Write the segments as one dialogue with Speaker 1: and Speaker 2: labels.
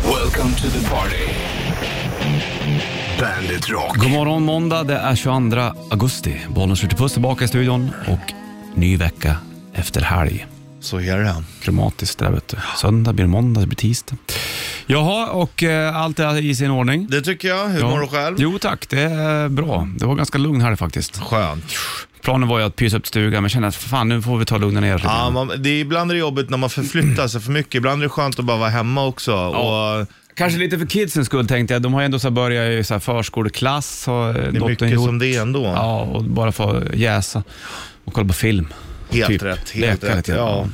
Speaker 1: Welcome to the party. Bandit Rock.
Speaker 2: God morgon måndag, det är 22 augusti. Bollen skjuter puss tillbaka i studion och ny vecka efter helg.
Speaker 3: Så är det.
Speaker 2: Kromatiskt det där vet du. Söndag blir måndag, det blir tisdag. Jaha, och eh, allt är i sin ordning.
Speaker 3: Det tycker jag. Hur mår du själv?
Speaker 2: Jo tack, det är bra. Det var ganska lugn helg faktiskt.
Speaker 3: Skönt.
Speaker 2: Planen var ju att pysa upp stugan, men kände att fan nu får vi ta och lugna ner oss lite
Speaker 3: Ja,
Speaker 2: grann.
Speaker 3: man, det är, ibland är det jobbigt när man förflyttar sig för mycket. Ibland är det skönt att bara vara hemma också. Och
Speaker 2: Kanske lite för kidsens skull tänkte jag. De har ju ändå så här börjat i så här förskoleklass. Och eh,
Speaker 3: det är mycket som det är ändå.
Speaker 2: Ja, och bara få jäsa och kolla på film.
Speaker 3: Helt
Speaker 2: Typ.
Speaker 3: rätt, helt
Speaker 2: Leka
Speaker 3: rätt.
Speaker 2: lite, Ja.
Speaker 3: Ja.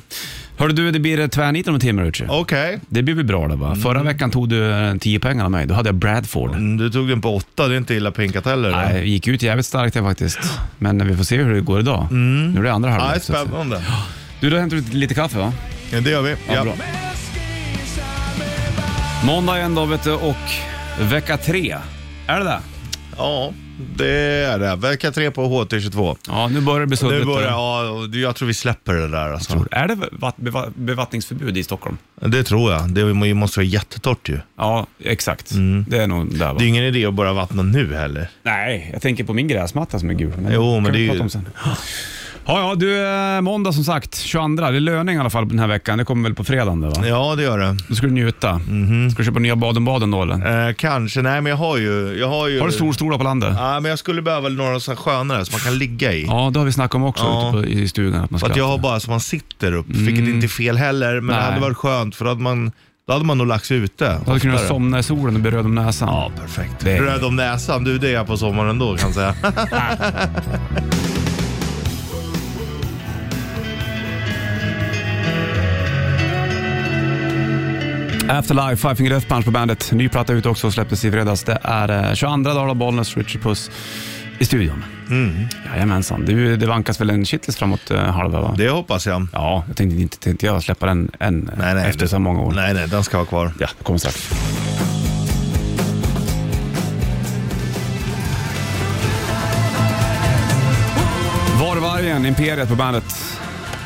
Speaker 2: Hörru du, det blir tvärnit om en timme Richie.
Speaker 3: Okej.
Speaker 2: Det blir väl bra det va? Förra veckan tog du eh, 10 pengar av mig. Då hade jag Bradford.
Speaker 3: Mm, Du tog den på åtta, det är inte illa pinkat heller.
Speaker 2: Nej, jag gick ut jävligt starkt där faktiskt. Men vi får se hur det går idag. Nu är det andra halvan.
Speaker 3: Nej,
Speaker 2: så att säga.
Speaker 3: Mm. spännande.
Speaker 2: Du, då hämtar du lite kaffe va?
Speaker 3: Ja, det gör vi.
Speaker 2: Ja, bra. Måndag igen då vet du och vecka tre. Är det det?
Speaker 3: ja, det är det. Vecka tre på HT22.
Speaker 2: Ja, nu börjar det bli
Speaker 3: Nu
Speaker 2: suddigt. eh.
Speaker 3: börjar, ja, och jag tror vi släpper det där alltså.
Speaker 2: Är det vatt- beva- bevattningsförbud i Stockholm?
Speaker 3: Det tror jag. Det måste vara jättetort ju.
Speaker 2: Ja, exakt. Det är nog där va?
Speaker 3: Mm. Det är ingen idé att börja vattna nu heller.
Speaker 2: Nej, jag tänker på min gräsmatta som är gul. Men
Speaker 3: Jo,
Speaker 2: kan
Speaker 3: men
Speaker 2: vi
Speaker 3: det är ju-
Speaker 2: prata om sen. Ja, ja, du, eh, måndag som sagt, 22. Det är löning i alla fall den här veckan. Det kommer väl på fredagen det va?
Speaker 3: Ja, Mhm. det gör det.
Speaker 2: Då ska du njuta. Ska du köpa nya Baden-Baden då eller?
Speaker 3: Eh, kanske, nej men jag har ju... Jag har ju...
Speaker 2: Har du solstolar på landet?
Speaker 3: Ja, men jag skulle behöva några så här skönare som man kan ligga i.
Speaker 2: Ja, det har vi snackat om också
Speaker 3: Ja.
Speaker 2: ute på, i stugan. Att man
Speaker 3: För
Speaker 2: ska
Speaker 3: att jag har bara så man sitter upp, vilket inte är fel heller, men det
Speaker 2: Mm. Nej.
Speaker 3: hade varit skönt för då hade man, då hade man nog lagt sig ute.
Speaker 2: Då hade du kunnat
Speaker 3: oftare.
Speaker 2: somna i solen och bli röd om näsan. Ja, perfekt. Det är...
Speaker 3: Röd om näsan, du det är jag på sommaren då kan jag säga.
Speaker 2: Afterlife, Five Finger Death Punch på bandet. Ny platta ut också, släpptes i fredags. Det är eh, 22 dagar av Bollnäs, Richard Puss i studion.
Speaker 3: Mm.
Speaker 2: Jajamensan. Det, det vankas väl en shitlist framåt eh, halva va?
Speaker 3: Det hoppas jag.
Speaker 2: Ja, jag tänkte inte tänkte jag släppa den än
Speaker 3: Nej, nej,
Speaker 2: efter så många år.
Speaker 3: Nej, nej, den ska vara kvar.
Speaker 2: Ja, det kommer strax. Varvargen, Imperiet på bandet.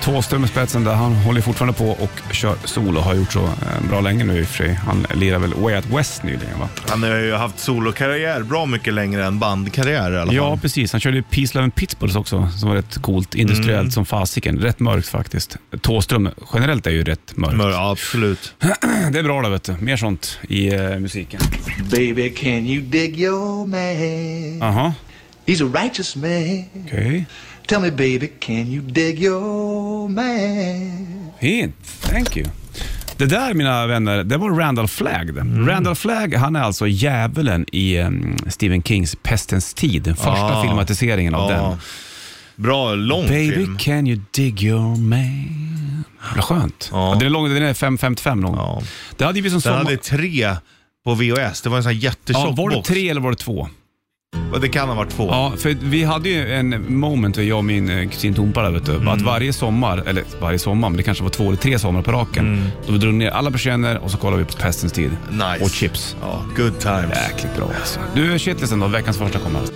Speaker 2: Thåström i spetsen där, han håller fortfarande på och kör solo. Har gjort så eh, bra länge nu i och för sig. Han lirar väl Way Out West nyligen va?
Speaker 3: Han har ju haft solokarriär bra mycket längre än bandkarriär i alla fall.
Speaker 2: Ja, precis. Han körde ju Peace Love and Pitbulls också, som var rätt coolt. Industriellt som fasiken. Rätt mörkt faktiskt. Thåström generellt är ju rätt mörkt.
Speaker 3: Men, ja, absolut.
Speaker 2: Det är bra det vet du. Mer sånt i eh, musiken.
Speaker 4: Baby, can you dig your man?
Speaker 2: Aha,
Speaker 4: He's a righteous man.
Speaker 2: okej.
Speaker 4: Tell me, baby, can you dig your man?
Speaker 2: Fint, thank you. Det där mina vänner, det var Randall Flagg. det.
Speaker 3: Mm.
Speaker 2: Randall Flagg, han är alltså djävulen i em, Stephen Kings Pestens tid. Den första
Speaker 3: Ah.
Speaker 2: filmatiseringen av
Speaker 3: Ja.
Speaker 2: den.
Speaker 3: Bra, lång
Speaker 2: Baby
Speaker 3: film.
Speaker 2: can you dig your man? Vad skönt.
Speaker 3: Ja.
Speaker 2: Ja. Den är lång, den är 5.55 lång.
Speaker 3: Ja.
Speaker 2: Det hade vi som
Speaker 3: Den
Speaker 2: sommar...
Speaker 3: hade tre på VHS. Det var en sån här jättetjock
Speaker 2: Ja, var det
Speaker 3: box.
Speaker 2: tre eller var det två?
Speaker 3: Det kan ha varit två.
Speaker 2: Ja, för vi hade ju en moment, jag och min eh, kusin Tompa där vet du, att varje sommar, eller varje sommar, men det kanske var två eller tre somrar på raken, då vi drog ner alla persienner och så kollade vi på Pestens tid.
Speaker 3: Nice.
Speaker 2: Och chips.
Speaker 3: Ja, good times.
Speaker 2: Jäkligt bra alltså. Du, shitlisten då, veckans första kommer alltså.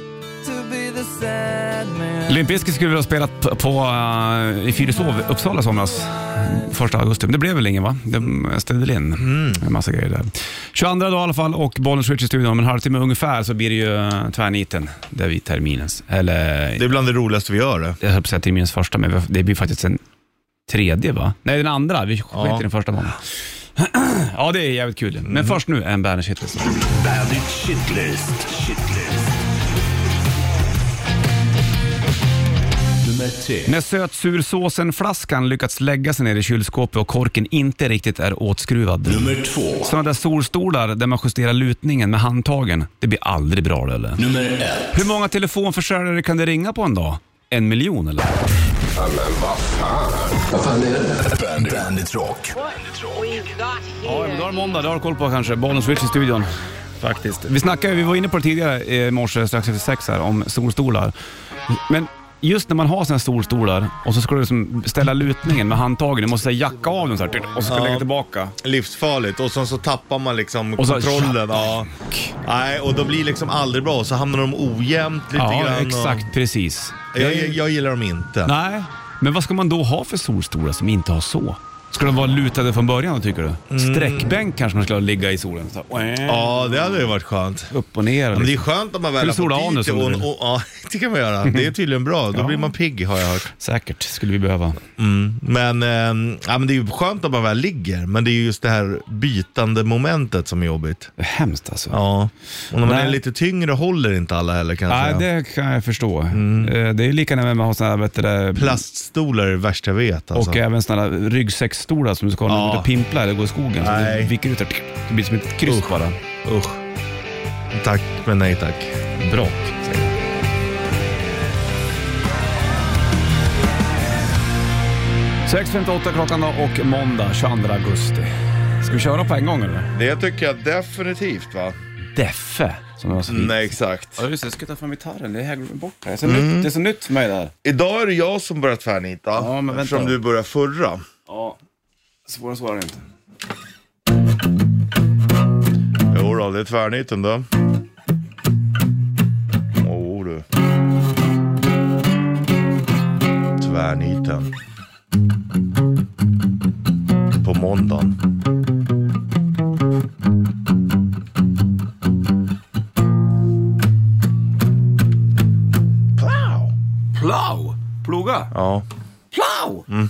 Speaker 2: Limp Bizkit skulle vi ha spelat på, på eh, i Fyrishov, Uppsala i somras. Första augusti, men det blev väl ingen va? Det ställde väl in en massa grejer där. 22 dag i alla fall och bollen switch i studion. Om en halvtimme ungefär så blir det ju eh, tvärniten. Det är vid terminens, eller
Speaker 3: Det är bland det roligaste vi gör. Det.
Speaker 2: jag höll på att säga terminens första, men det blir faktiskt en tredje va? Nej, den andra. Vi skiter
Speaker 3: Ja.
Speaker 2: i den första månaden. ja, det är jävligt kul. Men först nu en Bandage Hitlist.
Speaker 1: Bandit Shitlist. Shitlist. Nummer tre.
Speaker 2: När sötsursåsen-flaskan lyckats lägga sig ner i kylskåpet och korken inte riktigt är åtskruvad.
Speaker 1: Nummer två.
Speaker 2: Sådana där solstolar där man justerar lutningen med handtagen, det blir aldrig bra eller?
Speaker 1: Nummer ett.
Speaker 2: Hur många telefonförsäljare kan det ringa på en dag? En miljon eller?
Speaker 1: Bandit, Bandit Rock.
Speaker 5: We've got
Speaker 2: Ja,
Speaker 5: here.
Speaker 2: men då är det måndag. Det har du koll på kanske. Bollen switch i studion. Faktiskt. Vi snackade, vi var inne på det tidigare i morse, strax efter sex här, om solstolar. Men just när man har sina solstolar och så ska du liksom ställa lutningen med handtagen. Du måste så här jacka av dem så här, typ, och så ska du
Speaker 3: Ja.
Speaker 2: lägga tillbaka.
Speaker 3: Livsfarligt. Och sen så tappar man liksom
Speaker 2: Och så-
Speaker 3: kontrollen. Ja. Nej, och då blir det liksom aldrig bra. Så hamnar de ojämnt lite
Speaker 2: Ja,
Speaker 3: grann.
Speaker 2: exakt. Precis.
Speaker 3: Och... Jag, jag, jag gillar dem inte.
Speaker 2: Nej, men vad ska man då ha för solstolar som inte har så? Ska de vara lutade från början då, tycker du? Sträckbänk kanske man skulle ligga i solen. Så, här,
Speaker 3: Mm. Ja, det hade ju varit skönt.
Speaker 2: Upp och ner.
Speaker 3: Men det är
Speaker 2: liksom.
Speaker 3: skönt om man väl
Speaker 2: Eller
Speaker 3: har
Speaker 2: sola
Speaker 3: fått
Speaker 2: anus
Speaker 3: dit det.
Speaker 2: om du
Speaker 3: Och,
Speaker 2: vill.
Speaker 3: och, ja, det kan man göra. Det är tydligen bra. Då blir man pigg har jag hört. Mm.
Speaker 2: Säkert skulle vi behöva.
Speaker 3: Men, eh, ja, men det är ju skönt om man väl ligger. Men det är ju just det här bytande momentet som är jobbigt.
Speaker 2: Det är hemskt alltså.
Speaker 3: Ja. Och när man
Speaker 2: Nej.
Speaker 3: är lite tyngre håller inte alla heller kan jag
Speaker 2: Nej,
Speaker 3: säga.
Speaker 2: det kan jag förstå. Eh, Det är lika när man har sådana här, vet du, det,
Speaker 3: Plaststolar är det värsta jag vet alltså.
Speaker 2: och även sådana här ryggsäcksstolar som du ska ha när du
Speaker 3: Ja.
Speaker 2: går ut och pimplar eller går i skogen. Så
Speaker 3: Nej.
Speaker 2: du viker ut det, det blir som ett kryss bara.
Speaker 3: Usch. Tack, men nej tack.
Speaker 2: Bra. Sex klockan då och måndag 22 augusti. Ska vi köra på en gång eller?
Speaker 3: Det tycker jag definitivt va? Mm.
Speaker 2: Deffe, som jag har så fint.
Speaker 3: Nej, exakt.
Speaker 2: Mm. Ja just det, jag ska ta fram gitarren. Det här glömde jag bort. Det är så, nytt, det är så nytt för mig det här.
Speaker 3: Idag är det jag som börjar tvärnita.
Speaker 2: Ja, men vänta.
Speaker 3: Eftersom du började förra.
Speaker 2: Ja, svårare än så är det inte.
Speaker 3: Jo då, det är tvärniten då. Jo du. Tvärniten. På måndagen. Plow!
Speaker 2: Plow! Ploga?
Speaker 3: Ja. Mm.
Speaker 2: Plow!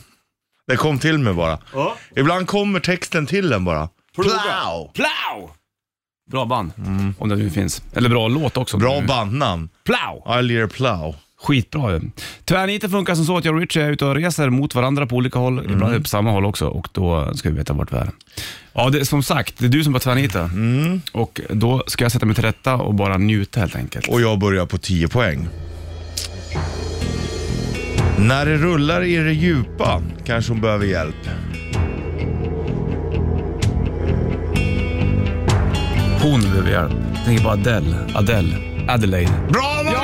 Speaker 3: Det kom till mig bara. Ibland kommer texten till en bara. Plow!
Speaker 2: Plow! Bra band, om det nu finns. Eller Mm. bra låt också.
Speaker 3: Bra bandnamn.
Speaker 2: Plow!
Speaker 3: I Lear Plow.
Speaker 2: Skitbra ju. Tvärniten funkar som så att jag och Richie är ute och reser mot varandra på olika
Speaker 3: Mm.
Speaker 2: håll, ibland på samma håll också och då ska vi veta vart vi är. Ja, det, som sagt, det är du som var tvärnita.
Speaker 3: Mm.
Speaker 2: Och då ska jag sätta mig till rätta och bara njuta helt enkelt.
Speaker 3: Och jag börjar på 10 poäng. När det rullar i det djupa kanske hon behöver hjälp.
Speaker 2: Hon behöver hjälp. Jag tänker på Adele, Adele, Adelaide.
Speaker 3: Bra Manuel!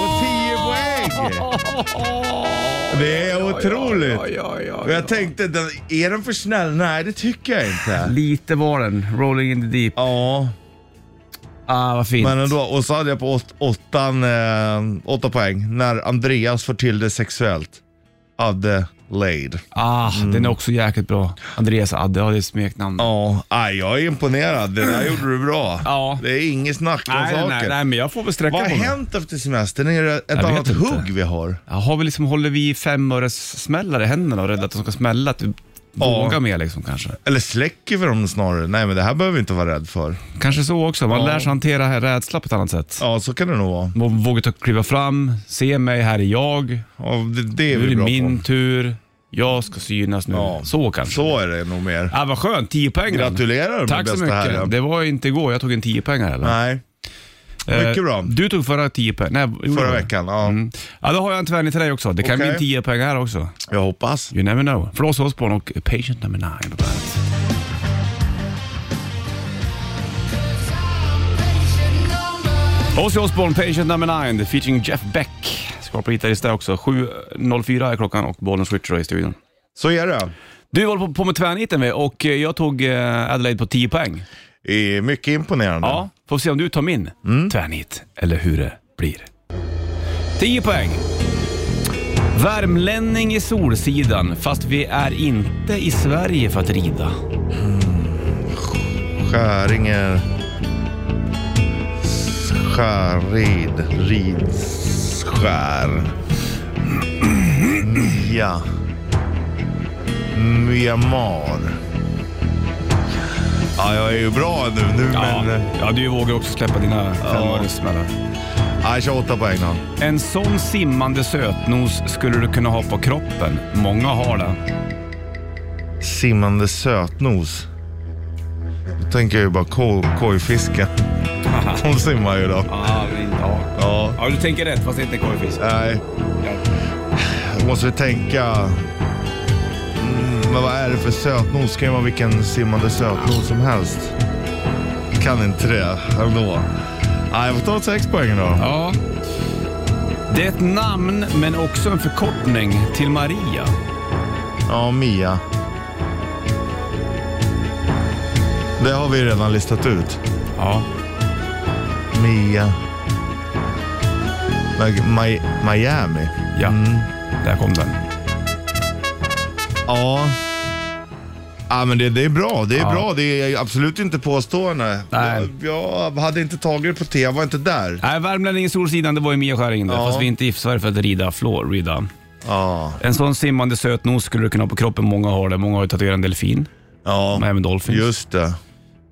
Speaker 3: Och 10 poäng! Det är otroligt.
Speaker 2: Ja, ja, ja,
Speaker 3: Och jag tänkte, den- är den för snäll? Nej, det tycker jag inte.
Speaker 2: Lite var den, Rolling in the deep.
Speaker 3: Ja,
Speaker 2: Ah, vad fint.
Speaker 3: men ändå. Och så hade jag på åt, åttan, eh, åtta poäng. När Andreas får till det sexuellt. Adelaide.
Speaker 2: Ah, den är
Speaker 3: Mm.
Speaker 2: också jäkligt bra. Andreas Adde, ja, det är ett smeknamn.
Speaker 3: Ja, nej, jag är imponerad. Det där gjorde du bra.
Speaker 2: Ja.
Speaker 3: Det är inget snack om
Speaker 2: nej,
Speaker 3: saken.
Speaker 2: nej, nej, men jag får väl sträcka
Speaker 3: Vad har
Speaker 2: på mig.
Speaker 3: hänt efter semestern? Är det ett
Speaker 2: vet
Speaker 3: annat
Speaker 2: inte.
Speaker 3: hugg vi har?
Speaker 2: Ja, Har vi liksom, håller vi femöres-smällare i händerna och rädda att de ska smälla? Att du
Speaker 3: Ja.
Speaker 2: vågar mer liksom kanske?
Speaker 3: Eller släcker vi dem snarare? Nej, men det här behöver vi inte vara rädd för.
Speaker 2: Kanske så också. Man
Speaker 3: Ja.
Speaker 2: lär sig hantera här rädsla på ett annat sätt.
Speaker 3: Ja, så kan det nog vara.
Speaker 2: Man vågar ta kliva fram, se mig, här är jag,
Speaker 3: Ja, det, det är
Speaker 2: nu är
Speaker 3: vi
Speaker 2: det
Speaker 3: bra
Speaker 2: min
Speaker 3: på.
Speaker 2: tur, jag ska synas nu.
Speaker 3: Ja.
Speaker 2: Så kanske.
Speaker 3: Så är det nog mer.
Speaker 2: Ah, vad skönt, 10 poäng.
Speaker 3: Gratulerar med
Speaker 2: Tack så
Speaker 3: bästa
Speaker 2: mycket.
Speaker 3: herren.
Speaker 2: Det var inte igår, jag tog en 10 poäng eller? Eh,
Speaker 3: Nej, mycket bra.
Speaker 2: Du tog förra 10 poäng. Nej, gjorde
Speaker 3: förra
Speaker 2: du?
Speaker 3: veckan. Ja,
Speaker 2: Mm. Ja, då har jag en tvärnit till dig också. Det kan
Speaker 3: Okej.
Speaker 2: bli en 10 poäng här också.
Speaker 3: jag hoppas.
Speaker 2: You never know. Flås Osborn och Patient number 9 på bandet. Ozzy Osbourne, Patient number 9, featuring Jeff Beck. Skrapar gitarrist där också. 7.04 är klockan och bollen switcher är i studion.
Speaker 3: Så är det.
Speaker 2: Du håller på, på med tvärniten vi och eh, jag tog eh, Adelaide på 10 poäng.
Speaker 3: Det är mycket imponerande.
Speaker 2: Ja, Mm. får se om du tar min tvärnit eller hur det blir. 10 poäng. Värmlänning i Solsidan, fast vi är inte i Sverige för att rida.
Speaker 3: Skäringer. Skärrid. Ridskär. Mia. Myanmar. Ja, jag är ju bra nu, nu men... eh,
Speaker 2: ja, du vågar också släppa dina femöringssmällar.
Speaker 3: Ja, jag kör åtta poäng då.
Speaker 2: En sån simmande sötnos skulle du kunna ha på kroppen. Många har det.
Speaker 3: Simmande sötnos. Då tänker jag ju bara ko- kojfisken. Hon simmar ju då.
Speaker 2: Ja, ja.
Speaker 3: Ja.
Speaker 2: ja, du tänker rätt fast det är inte korvfisk.
Speaker 3: Nej. Då måste vi tänka. Mm, Men vad är det för sötnos? Kan ju vara vilken simmande sötnos som helst. Kan inte det ändå. Nej, jag får ta sex poäng då.
Speaker 2: Ja. Det är ett namn men också en förkortning till Maria.
Speaker 3: Ja, Mia. Det har vi redan listat ut.
Speaker 2: Ja.
Speaker 3: Mia. Like, Mi- Miami.
Speaker 2: Mm. Ja, där kom den.
Speaker 3: Ja, Ja, men det, det är bra. Det är
Speaker 2: Ja.
Speaker 3: bra. Det är absolut inte påstående.
Speaker 2: Nej.
Speaker 3: Jag, jag hade inte tagit det på te. Jag var inte där.
Speaker 2: Nej, värmlänningen Solsidan, det var ju Mia Skäringen där.
Speaker 3: Ja.
Speaker 2: Fast vi är inte i Sverige för att rida floor, rida.
Speaker 3: Ja.
Speaker 2: En sån simmande sötnos skulle du kunna ha på kroppen. Många har det. Många har ju tatuerat en delfin.
Speaker 3: Ja.
Speaker 2: Och även dolphins.
Speaker 3: Just det.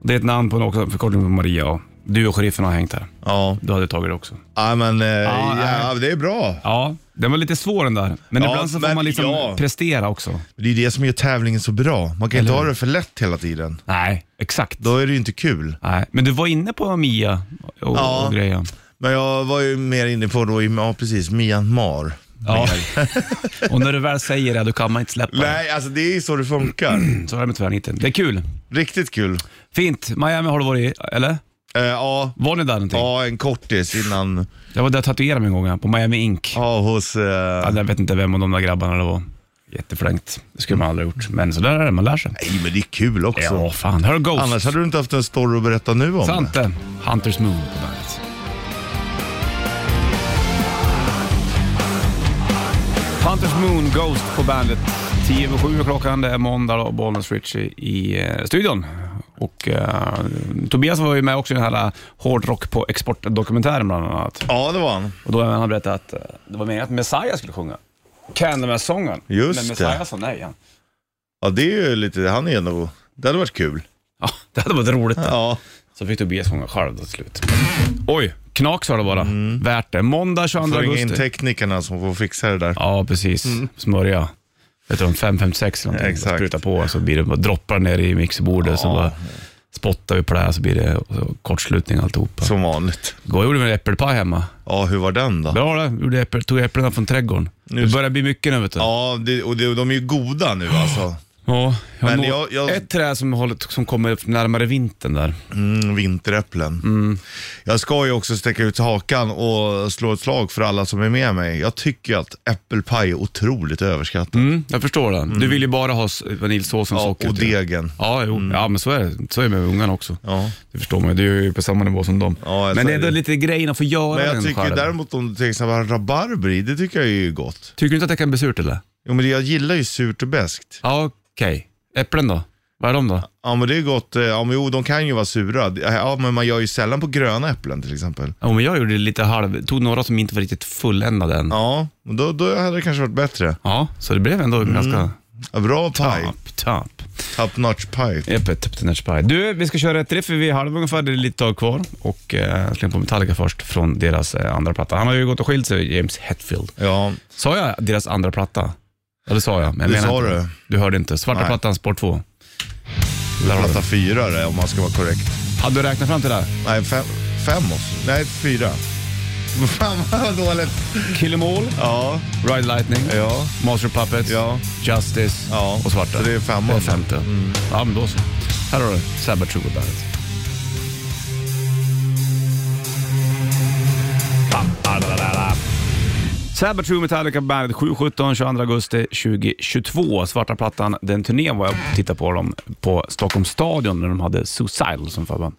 Speaker 2: Det är ett namn på en också, förkortning på Maria. ja. Du och sheriffen har hängt här.
Speaker 3: Ja.
Speaker 2: Du hade tagit det också.
Speaker 3: Ja, men eh,
Speaker 2: Ja,
Speaker 3: ja,
Speaker 2: nej.
Speaker 3: det är bra.
Speaker 2: Ja, den var lite svår den där. Men
Speaker 3: Ja,
Speaker 2: ibland så får
Speaker 3: men
Speaker 2: man liksom
Speaker 3: ja.
Speaker 2: prestera också.
Speaker 3: Det är det som gör tävlingen så bra. Man kan
Speaker 2: Eller
Speaker 3: inte ha det för lätt hela tiden.
Speaker 2: Nej, exakt.
Speaker 3: Då är det ju inte kul.
Speaker 2: Nej, men du var inne på Mia och,
Speaker 3: Ja.
Speaker 2: och grejen.
Speaker 3: Men jag var ju mer inne på då, i- ja precis, Myanmar.
Speaker 2: Ja. och när du väl säger det, då kan man inte släppa det.
Speaker 3: Nej, alltså det är ju så det funkar.
Speaker 2: Så är det med tvärniten. Det är kul.
Speaker 3: Riktigt kul.
Speaker 2: Fint. Miami har du varit i, eller?
Speaker 3: Eh, ja,
Speaker 2: Var ni där någonting?
Speaker 3: ja, en kortis innan,
Speaker 2: Jag var där och tatuerade mig en gång här, på Miami Ink.
Speaker 3: ja hos... Eh,
Speaker 2: Ja, jag vet inte vem av de där grabbarna det var. Jätteflängt. Det skulle man aldrig ha gjort. Men så där är det, man lär sig.
Speaker 3: nej men det är kul också.
Speaker 2: Ja, fan. Här har du Ghost.
Speaker 3: Annars hade du inte haft en story att berätta nu om.
Speaker 2: Sant det. Hunters Moon på bandet. Hunters Moon, Ghost på bandet. 10 över 7 är klockan, det är måndag och Bollnäs Richie i eh, studion. Och eh, Tobias var ju med också i den här eh, hårdrock på export-dokumentären bland annat.
Speaker 3: Ja, det var han.
Speaker 2: Och då har han berättat att eh, det var meningen att Messiah skulle sjunga. Candlemass-sången.
Speaker 3: Just
Speaker 2: Men Messiah
Speaker 3: det.
Speaker 2: sa nej. Han.
Speaker 3: Ja, det är ju lite, han är nog, det hade varit kul.
Speaker 2: Ja, det hade varit roligt.
Speaker 3: Ja,
Speaker 2: Så fick Tobias sjunga själv då till slut. Oj, knak sa det bara. Värt det. Måndag 22
Speaker 3: Mm. får ringa in
Speaker 2: augusti.
Speaker 3: teknikerna som får fixa det där.
Speaker 2: Ja, precis. Smörja. Vet du, om 556 eller någonting.
Speaker 3: Mm. Exakt.
Speaker 2: Spruta på så blir det bara droppar ner i mixerbordet. Så bara spottar vi på det här så blir det och så kortslutning alltihopa.
Speaker 3: Som vanligt.
Speaker 2: Igår gjorde vi en äppelpaj hemma.
Speaker 3: Ja, hur var den då?
Speaker 2: Bra det. Gjorde äppel, tog äpplena från trädgården. Det börjar bli mycket nu vet du.
Speaker 3: Ja, det, och det, de är ju goda nu alltså.
Speaker 2: Ja, jag har
Speaker 3: Men
Speaker 2: nå-
Speaker 3: jag- jag-
Speaker 2: Ett träd som, håller, som kommer närmare vintern där.
Speaker 3: Mm, vinteräpplen.
Speaker 2: Mm.
Speaker 3: Jag ska ju också sticka ut hakan och slå ett slag för alla som är med mig. Jag tycker att äppelpaj är otroligt överskattat.
Speaker 2: Mm, jag förstår det. Du vill ju bara ha s- vaniljsås och
Speaker 3: Mm. Ja,
Speaker 2: socker.
Speaker 3: och
Speaker 2: till.
Speaker 3: degen. Mm.
Speaker 2: Ja, jo. ja men så är det. Så är det med ungarna också.
Speaker 3: Ja.
Speaker 2: Det förstår man ju. Du är ju på samma nivå som dem.
Speaker 3: Ja, jag
Speaker 2: men det är
Speaker 3: säger
Speaker 2: ändå
Speaker 3: det.
Speaker 2: lite grejen att få göra
Speaker 3: Men jag
Speaker 2: den
Speaker 3: tycker
Speaker 2: själv.
Speaker 3: däremot om du till exempel rabarber i, det tycker jag är ju gott.
Speaker 2: Tycker du inte att det kan bli surt eller?
Speaker 3: Jo men jag gillar ju surt och beskt.
Speaker 2: Ja, okej. Äpplen då? Vad är de då?
Speaker 3: Ja men det är gott, eh, ja men jo de kan ju vara sura. eh, Ja men man gör ju sällan på gröna äpplen till exempel.
Speaker 2: Ja, men jag gjorde det lite halv... Tog några som inte var riktigt fulländade än. Ja,
Speaker 3: Ja, och då, då hade det kanske varit bättre.
Speaker 2: så det blev ändå
Speaker 3: Mm.
Speaker 2: ganska...
Speaker 3: Ja, Bra paj.
Speaker 2: Tapp, tapp.
Speaker 3: Top notch paj.
Speaker 2: Öppet, tapp den här spy. typ Du, vi ska köra ett riff. Vi är halv ungefär. Det är lite tag kvar. Och eh, jag slänger på Metallica först från deras eh, andra platta. Han har ju gått och skilt sig, James Hetfield.
Speaker 3: Ja,
Speaker 2: Sa jag deras andra platta? Ja, det sa jag. Men jag
Speaker 3: Det
Speaker 2: menar inte.
Speaker 3: sa du.
Speaker 2: Du hörde inte. Svarta
Speaker 3: Nej.
Speaker 2: plattan, spår 2.
Speaker 3: platta fyra är det, om man ska vara korrekt.
Speaker 2: Hade du räknat fram till det här?
Speaker 3: Nej, fem, fem också. Nej, fyra. Fan vad dåligt.
Speaker 2: Kill 'em all,
Speaker 3: Ja,
Speaker 2: Ride Lightning,
Speaker 3: ja.
Speaker 2: Master of Puppets,
Speaker 3: Ja.
Speaker 2: Justice
Speaker 3: Ja,
Speaker 2: och Svarta.
Speaker 3: så det är femman. Mm.
Speaker 2: Det är femte. Ja, men då så. Här har du Sabbath Trooper Bandet. Sabbath True Metallica Bandet 717 22 augusti 2022. Svarta plattan, den turnén var jag och tittade på dem på Stockholms stadion när de hade Suicidal som förband.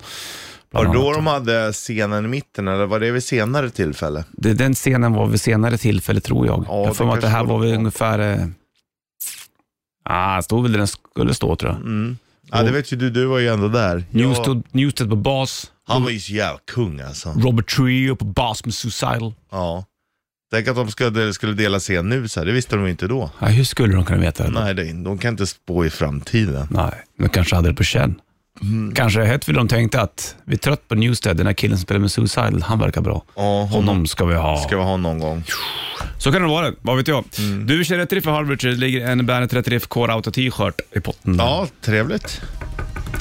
Speaker 3: Var det
Speaker 2: Bland
Speaker 3: då
Speaker 2: annat.
Speaker 3: de hade scenen i mitten eller var det vid senare tillfälle?
Speaker 2: Det- Den scenen var vid senare tillfälle tror jag.
Speaker 3: Ja,
Speaker 2: jag har för
Speaker 3: det
Speaker 2: mig att det här
Speaker 3: kanske
Speaker 2: var
Speaker 3: var
Speaker 2: väl
Speaker 3: det.
Speaker 2: ungefär... eh, Ah, det stod väl där den skulle stå tror
Speaker 3: Mm,
Speaker 2: jag.
Speaker 3: Ja, det vet ju du, du var ju ändå där. Jag,
Speaker 2: Newsted, Newsted på bas,
Speaker 3: han var ju så jävla kung alltså.
Speaker 2: Robert Trio på bas med Suicidal.
Speaker 3: Ja. Tänk att de skulle, skulle dela scen nu så här. det visste de ju inte då.
Speaker 2: Ja, hur skulle de kunna veta det?
Speaker 3: Nej, det, de kan inte spå i framtiden.
Speaker 2: Nej, men kanske hade det på känn.
Speaker 3: Mm.
Speaker 2: Kanske Hetfield de tänkte att vi är trött på Newsted, den här killen som spelar med Suicidal, han verkar bra.
Speaker 3: Ja, honom
Speaker 2: Honom ska vi ha.
Speaker 3: ska Mm. vi ha någon gång.
Speaker 2: Så kan det vara, vad vet jag. Du, kör rätt riff för Halvbridge. Det ligger en Bandet Rätt Riff Core Auto t-shirt i potten. där.
Speaker 3: Ja, trevligt.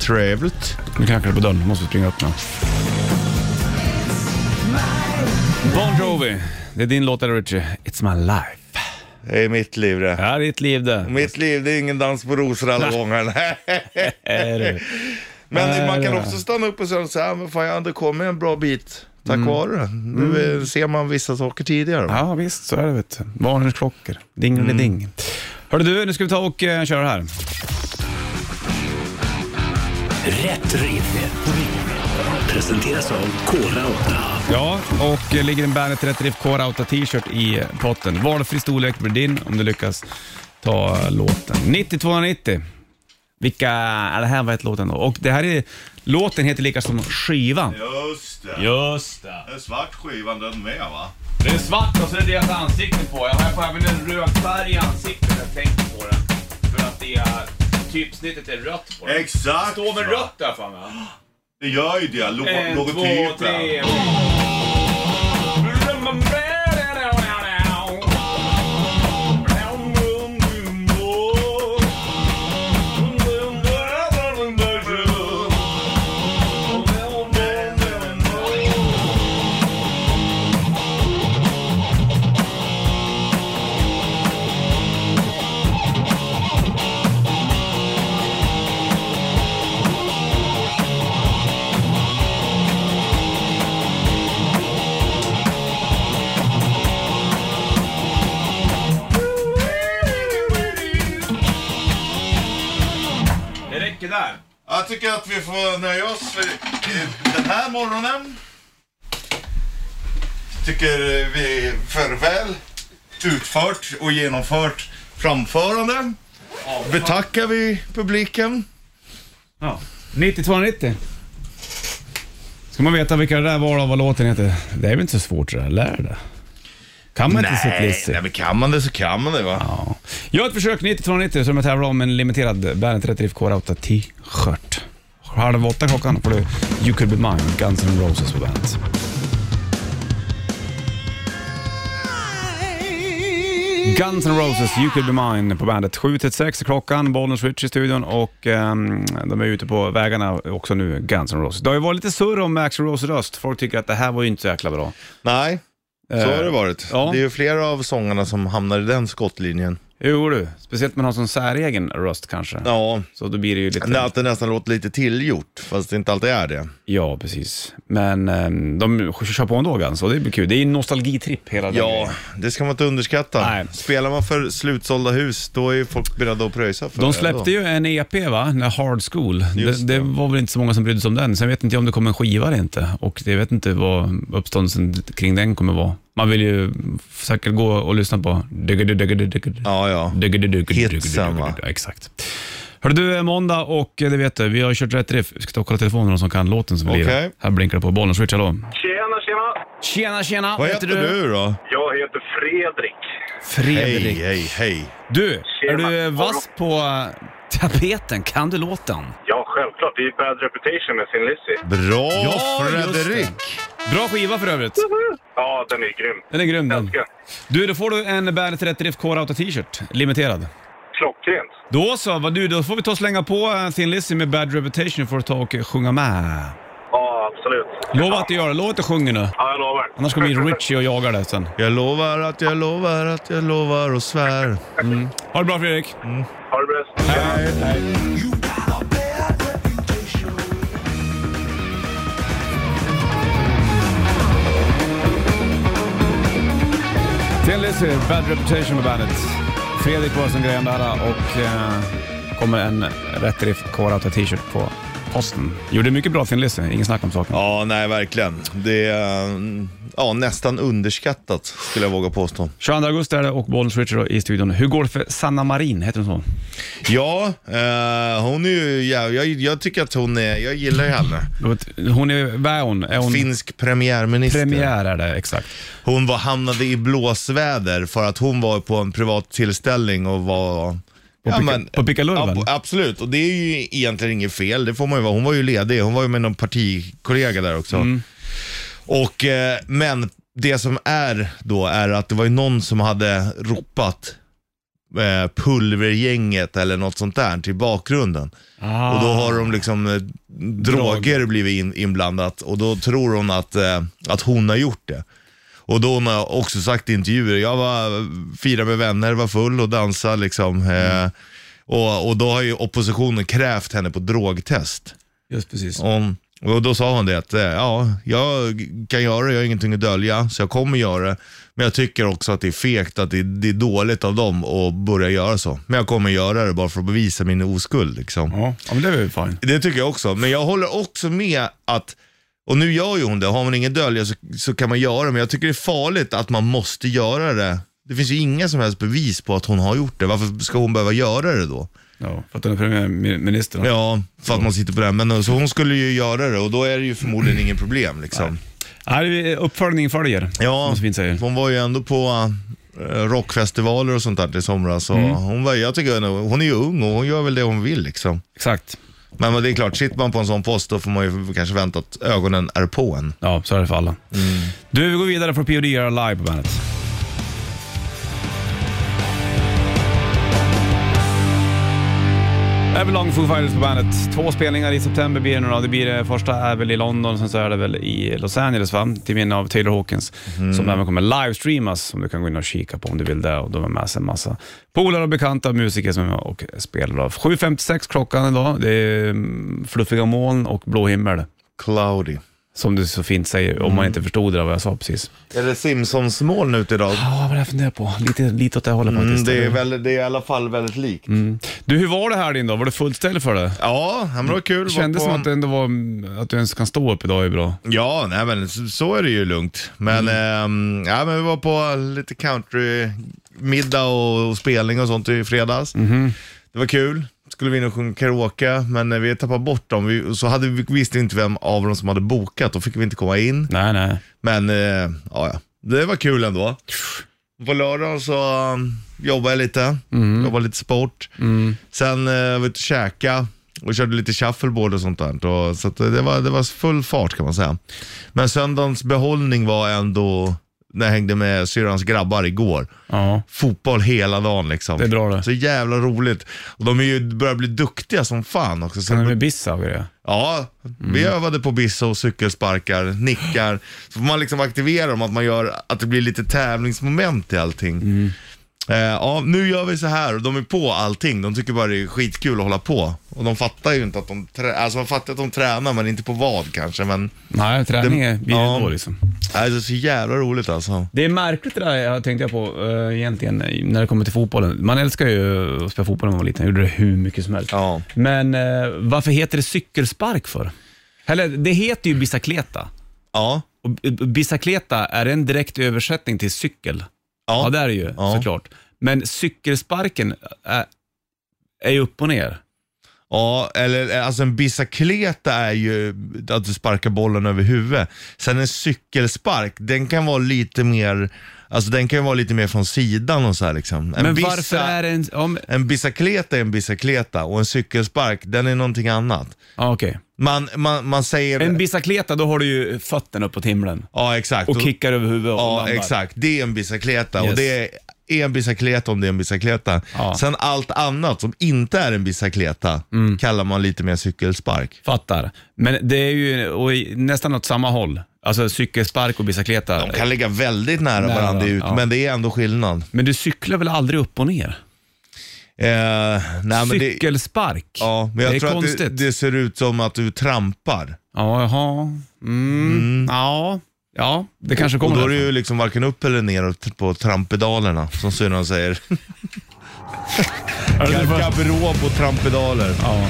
Speaker 3: Trevligt.
Speaker 2: Nu knackar det på dörren, måste springa upp nu. Bon Jovi, det är din låt där Richie. It's my life.
Speaker 3: Det är mitt liv det.
Speaker 2: Det här är ditt liv det.
Speaker 3: Mitt liv, det är ingen dans på rosor alla gånger.
Speaker 2: Är det.
Speaker 3: Men man kan
Speaker 2: ja.
Speaker 3: också stanna upp och säga så här, men fan jag hade kommit en bra bit tack vare det. Nu eh, ser man vissa saker tidigare.
Speaker 2: Ja visst, så är det vet du. Varningsklockor. Ding mm. ding. Hörru du, nu ska vi ta och eh, köra här.
Speaker 1: Rätt riff. Presenteras av Kora 8.
Speaker 2: Ja, och eh, ligger en Bandet Rätt Riff Core Auto t-shirt i eh, potten. Valfri storlek blir din om du lyckas ta eh, låten. 90 290. Vilka... Ja, det här var ett låten då. Och det här är... Låten heter lika som skivan.
Speaker 3: Just det.
Speaker 2: Just det.
Speaker 3: En svart skivan den med va?
Speaker 2: Det är svart och så är det deras ansikten på. Jag har även en röd färg i ansiktet när jag tänker på den. För att det är, typsnittet är rött på den.
Speaker 3: Exakt!
Speaker 2: Står med
Speaker 3: va?
Speaker 2: rött där för mig.
Speaker 3: Det gör ju det. Lo-
Speaker 2: En, två, tre.
Speaker 3: logotypen.
Speaker 2: Det räcker där.
Speaker 3: Jag tycker att vi får nöja oss för eh, den här morgonen. Tycker vi för väl utfört och genomfört framförande. Betackar vi publiken.
Speaker 2: Ja. 9290. Ska man veta vilka det där var och vad låten heter? Det är väl inte så svårt det där. Lär det. Kan man inte sitt list?
Speaker 3: nej, men kan man det så kan man det va.
Speaker 2: Ja. Gör ett försök 9290 som jag tävlar om en limiterad Bandet Rätt Riff K8 t-shirt. Halv åtta klockan får du You Could Be Mine, Guns N' Roses på bandet. Guns N' Roses, You Could Be Mine på bandet. 7-6 klockan, Bollnäs Switch i studion och ehm, de är ute på vägarna också nu, Guns N' Roses. Det har ju varit lite surr om Axl Rose röst. Folk tycker att det här var ju inte så jäkla bra.
Speaker 3: Nej, så har det varit.
Speaker 2: ja.
Speaker 3: Det är ju flera av sångarna som hamnar i den skottlinjen.
Speaker 2: Jo du, speciellt när man har sån säregen röst kanske.
Speaker 3: Ja,
Speaker 2: Så då blir det ju lite...
Speaker 3: det är att det nästan låter lite tillgjort, fast det inte alltid är det.
Speaker 2: Ja, precis. Men ehm, de kör på ändå Guns och det blir kul. Det är en nostalgitripp hela den
Speaker 3: Ja,
Speaker 2: grejen.
Speaker 3: det ska man inte underskatta.
Speaker 2: Nej.
Speaker 3: Spelar man för slutsålda hus, då är ju folk beredda att pröjsa för
Speaker 2: De
Speaker 3: det
Speaker 2: släppte
Speaker 3: ändå.
Speaker 2: ju en EP, va? Den här Hard School. Det,
Speaker 3: Just
Speaker 2: det
Speaker 3: det.
Speaker 2: var väl inte så många som brydde sig om den. Sen vet inte jag om det kommer en skiva eller inte. Och jag vet inte vad uppståndelsen kring den kommer vara. Man vill ju säkert gå och lyssna på...
Speaker 3: Ja, ja. Hitsen, va?
Speaker 2: Ja, Exakt. Hörru du, är måndag och eh, det vet du, vi har kört rätt riff. Vi ska ta och kolla telefonen, någon som kan låten som vi
Speaker 3: Okej.
Speaker 2: lirar. Här blinkar det på bollen. Switch, hallå.
Speaker 5: Tjena, tjena!
Speaker 2: Tjena, tjena!
Speaker 3: Vad heter du då?
Speaker 5: Jag heter Fredrik.
Speaker 2: Fredrik.
Speaker 3: Hej, hej, hej.
Speaker 2: Du, är
Speaker 5: Tjena.
Speaker 2: du vass på eh, tapeten? Kan du låten?
Speaker 5: Ja, självklart. Det är ju Bad Reputation med sin Lizzy.
Speaker 3: Bra
Speaker 2: Ja, just det.
Speaker 3: Fredrik!
Speaker 2: Bra skiva för övrigt.
Speaker 5: Ja, den är grym.
Speaker 2: Den är grym den.
Speaker 5: Älskar.
Speaker 2: Du, då får du en Bandet Rätt Drift Core Auto t-shirt. Limiterad.
Speaker 5: Klockrent.
Speaker 2: Då så, vad du, då får vi ta och slänga på eh, Thin Lizzy med Bad Reputation för att ta och eh, sjunga med.
Speaker 5: Ja, absolut.
Speaker 2: Lova att du gör det. Lova att du sjunger nu.
Speaker 5: Ja, jag lovar.
Speaker 2: Annars kommer ju Richie och jagar dig sen.
Speaker 3: Jag lovar att jag lovar att jag lovar och svär.
Speaker 2: Ha det bra Fredrik.
Speaker 5: Ha det bäst.
Speaker 2: Thin Lizzy, Bad Reputation med Bandet. Fredrik var som grejen där och eh, kommer en Rätt Drift Core Auto t-shirt på posten. Gjorde mycket bra Thin Lizzy, ingen snack om saken.
Speaker 3: Ja, nej verkligen. Det är mm, ja, nästan underskattat skulle jag våga påstå.
Speaker 2: 22 augusti är det och Bollnäs Richard i studion. Hur går det för Sanna Marin? Heter hon så?
Speaker 3: Ja, eh, hon är ju, ja, jag, jag tycker att hon är, jag gillar ju henne.
Speaker 2: Hon är, vad är hon? Är hon
Speaker 3: Finsk premiärminister.
Speaker 2: premiär är det, exakt.
Speaker 3: Hon var, hamnade i blåsväder för att hon var på en privat tillställning och var...
Speaker 2: Picka- på Pickalurven?
Speaker 3: Ja, absolut, och det är ju egentligen inget fel. Det får man ju vara. Hon var ju ledig. Hon var ju med någon partikollega där också.
Speaker 2: Mm.
Speaker 3: Och, eh, men det som är då är att det var ju någon som hade ropat eh, pulvergänget eller något sånt där till bakgrunden.
Speaker 2: Ah.
Speaker 3: Och då har de liksom eh, droger blivit in, inblandat och då tror hon att, eh, att hon har gjort det. Och då hon har också sagt i intervjuer, jag var, firade med vänner, var full och dansade liksom. Eh, och, och då har ju oppositionen krävt henne på drogtest.
Speaker 2: Just precis.
Speaker 3: Och, och då sa hon det att, eh, ja, jag kan göra det, jag har ingenting att dölja, så jag kommer göra det. Men jag tycker också att det är fegt, att det, det är dåligt av dem att börja göra så. Men jag kommer göra det bara för att bevisa min oskuld liksom.
Speaker 2: Ja, ja, men det är väl fine.
Speaker 3: Det tycker jag också, men jag håller också med att, och nu gör ju hon det, har man ingen dölja så, så kan man göra det, men jag tycker det är farligt att man måste göra det. Det finns ju inga som helst bevis på att hon har gjort det, varför ska hon behöva göra det då?
Speaker 2: Ja, för att den är premiärminister.
Speaker 3: Ja, för att man sitter på den. Men, eh, så hon skulle ju göra det och då är det ju förmodligen inget problem. Liksom.
Speaker 2: Nej, det är uppföljning följer,
Speaker 3: Ja,
Speaker 2: som så fint säger.
Speaker 3: hon var ju ändå på eh, rockfestivaler och sånt där i somras. Och
Speaker 2: Mm.
Speaker 3: hon, var, jag tycker, hon hon är ju ung och hon gör väl det hon vill. Liksom.
Speaker 2: Exakt.
Speaker 3: Men, men det är klart, sitter man på en sån post då får man ju kanske vänta att ögonen är på en.
Speaker 2: Ja, så är det för alla. Du, vi går vidare från POD göra live på bandet. Everlong Foo Fighters på bandet. Två spelningar i september blir det nu då. Det blir det första är väl i London, sen så är det väl i Los Angeles va? Till minne av Taylor Hawkins. Som även kommer livestreamas som du kan gå in och kika på om du vill det. Och de har med sig en massa polare och bekanta musiker som är med och spelar. då. 7.56 klockan idag. Det är mm, fluffiga moln och blå himmel.
Speaker 3: Cloudy.
Speaker 2: Som du så fint säger, om man inte förstod det där vad jag sa precis.
Speaker 3: Är det Simpsons-moln ute idag?
Speaker 2: Ja, vad är det jag funderar på? Lite, lite åt det hållet
Speaker 3: Mm,
Speaker 2: faktiskt.
Speaker 3: det, är väl, det är i alla fall väldigt likt.
Speaker 2: Mm. Du, hur var det här din då? Var det fullt ställe för det?
Speaker 3: Ja, men det var kul.
Speaker 2: Det kändes
Speaker 3: Var på-
Speaker 2: som att det ändå var, mm, att du ens kan stå upp idag är bra.
Speaker 3: Ja, nej, men så- så är det ju lugnt. Men,
Speaker 2: Mm.
Speaker 3: ehm, ja, men vi var på lite countrymiddag och, och spelning och sånt i fredags.
Speaker 2: Mm-hmm.
Speaker 3: Det var kul. Skulle vi in och sjunga karaoke, men eh, vi tappade bort dem. Vi, så hade, vi visste inte vem av dem som hade bokat, då fick vi inte komma in.
Speaker 2: Nej, nej.
Speaker 3: Men eh, ja, ja, det var kul ändå. På lördagen så um, jobbade jag lite,
Speaker 2: Mm.
Speaker 3: jobbade lite sport. Sen eh, var jag ute och käkade och körde lite shuffleboard och sånt där. Och, så att det, var, det var full fart kan man säga. Men söndagens behållning var ändå när jag hängde med syrrans grabbar igår.
Speaker 2: Ja.
Speaker 3: Fotboll hela dagen liksom.
Speaker 2: Det är bra det.
Speaker 3: Så jävla roligt. Och de är ju, börjar bli duktiga som fan också. Så
Speaker 2: Sen är det med Bissa och grejer.
Speaker 3: Ja, vi övade på bisso, cykelsparkar, nickar. Så får man liksom aktivera dem, att man gör att det blir lite tävlingsmoment i allting. Eh, ja, nu gör vi så här och de är på allting. De tycker bara det är skitkul att hålla på. Och de fattar ju inte att de, trä- alltså man fattar att de tränar men inte på vad kanske. Men
Speaker 2: Nej, träning är blir
Speaker 3: Ja.
Speaker 2: det då liksom.
Speaker 3: nej, det är så jävla roligt alltså.
Speaker 2: Det är märkligt det där jag tänkte jag på eh, egentligen när det kommer till fotbollen. Man älskar ju att spela fotboll när man var liten. Jag gjorde det hur mycket som helst.
Speaker 3: Ja.
Speaker 2: Men eh, varför heter det cykelspark för? Eller det heter ju bicicleta.
Speaker 3: Ja,
Speaker 2: Och b- b- bicicleta, är det en direkt översättning till cykel? Ja, det är det ju
Speaker 3: Ja.
Speaker 2: såklart. Men cykelsparken är, är ju upp och ner.
Speaker 3: Ja, eller eh, alltså en bicicleta är ju att du sparkar bollen över huvudet. Sen en cykelspark, den kan vara lite mer, alltså den kan ju vara lite mer från sidan och så här liksom. En
Speaker 2: Men
Speaker 3: bica-
Speaker 2: varför är det en... Ja, men-
Speaker 3: En bicicleta är en bicicleta och en cykelspark, den är någonting annat.
Speaker 2: ja, okej.
Speaker 3: Man, man, man säger...
Speaker 2: En bicicleta, då har du ju fötterna uppåt himlen
Speaker 3: ja, exakt.
Speaker 2: och kickar över huvudet och
Speaker 3: Ja,
Speaker 2: landar.
Speaker 3: exakt. Det är en bicicleta och
Speaker 2: Yes.
Speaker 3: det är är en bicicleta om det är en bicicleta.
Speaker 2: Ja.
Speaker 3: Sen allt annat som inte är en bicicleta
Speaker 2: Mm.
Speaker 3: kallar man lite mer cykelspark.
Speaker 2: Fattar. Men det är ju och i- nästan åt samma håll. Alltså cykelspark och bicicleta.
Speaker 3: De kan ligga väldigt nära,
Speaker 2: Nära
Speaker 3: varandra ut,
Speaker 2: varandra, ja.
Speaker 3: men det är ändå skillnad.
Speaker 2: Men du cyklar väl aldrig upp och ner?
Speaker 3: Eh, nej, men det,
Speaker 2: Cykelspark?
Speaker 3: ja, men jag
Speaker 2: det är
Speaker 3: tror
Speaker 2: konstigt.
Speaker 3: att det, det ser ut som att du trampar.
Speaker 2: Ja, jaha. Mm. Ja. ja, det kanske
Speaker 3: Och
Speaker 2: kommer
Speaker 3: då är det
Speaker 2: därifrån.
Speaker 3: ju liksom varken upp eller ner på trampedalerna, som syrran säger.
Speaker 2: Är det för-
Speaker 3: Garderob och trampedaler.
Speaker 2: Ja.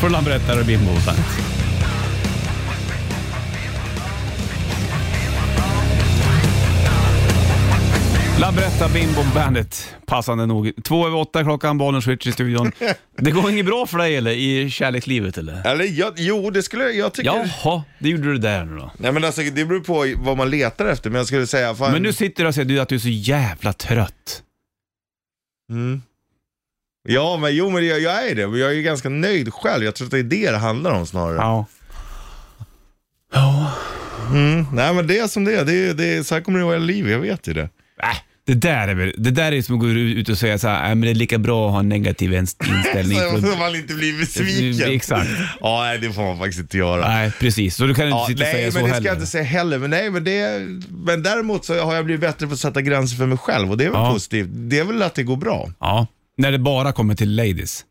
Speaker 2: Får han berätta det blir mot Labretta Bimbo Bandit, passande nog. Två över åtta klockan, bollen switch i studion. Det går inget bra för dig eller? I kärlekslivet eller?
Speaker 3: Eller jag, jo, det skulle jag, jag tycker...
Speaker 2: Jaha, det gjorde du där nu då.
Speaker 3: Nej men alltså, det beror på vad man letar efter, men jag skulle säga... Fan,
Speaker 2: Men nu sitter du och säger du att du är så jävla trött.
Speaker 3: Mm. Ja, men jo, men jag, jag är det. Men Jag är ju ganska nöjd själv. Jag tror att det är det det handlar om snarare.
Speaker 2: Ja.
Speaker 3: Mm. Nej, men det är som det är. Det är, det är så här kommer det vara i livet, jag vet ju det.
Speaker 2: Äh, det där är väl, det där är som att gå ut och säga så här, "Äh, men det är lika bra att ha en negativ inst- inställning.
Speaker 3: Så
Speaker 2: för-
Speaker 3: att man inte blir besviken.
Speaker 2: Exakt.
Speaker 3: Ja, nej, det får man faktiskt inte göra.
Speaker 2: Nej, precis. Så du kan inte
Speaker 3: Ja,
Speaker 2: sitta och
Speaker 3: nej,
Speaker 2: säga
Speaker 3: men
Speaker 2: så
Speaker 3: det ska
Speaker 2: heller.
Speaker 3: jag inte säga heller. Men, nej, men, det, men däremot så har jag blivit bättre på att sätta gränser för mig själv och det är väl
Speaker 2: Ja.
Speaker 3: positivt. Det är väl att det går bra.
Speaker 2: Ja, när det bara kommer till ladies.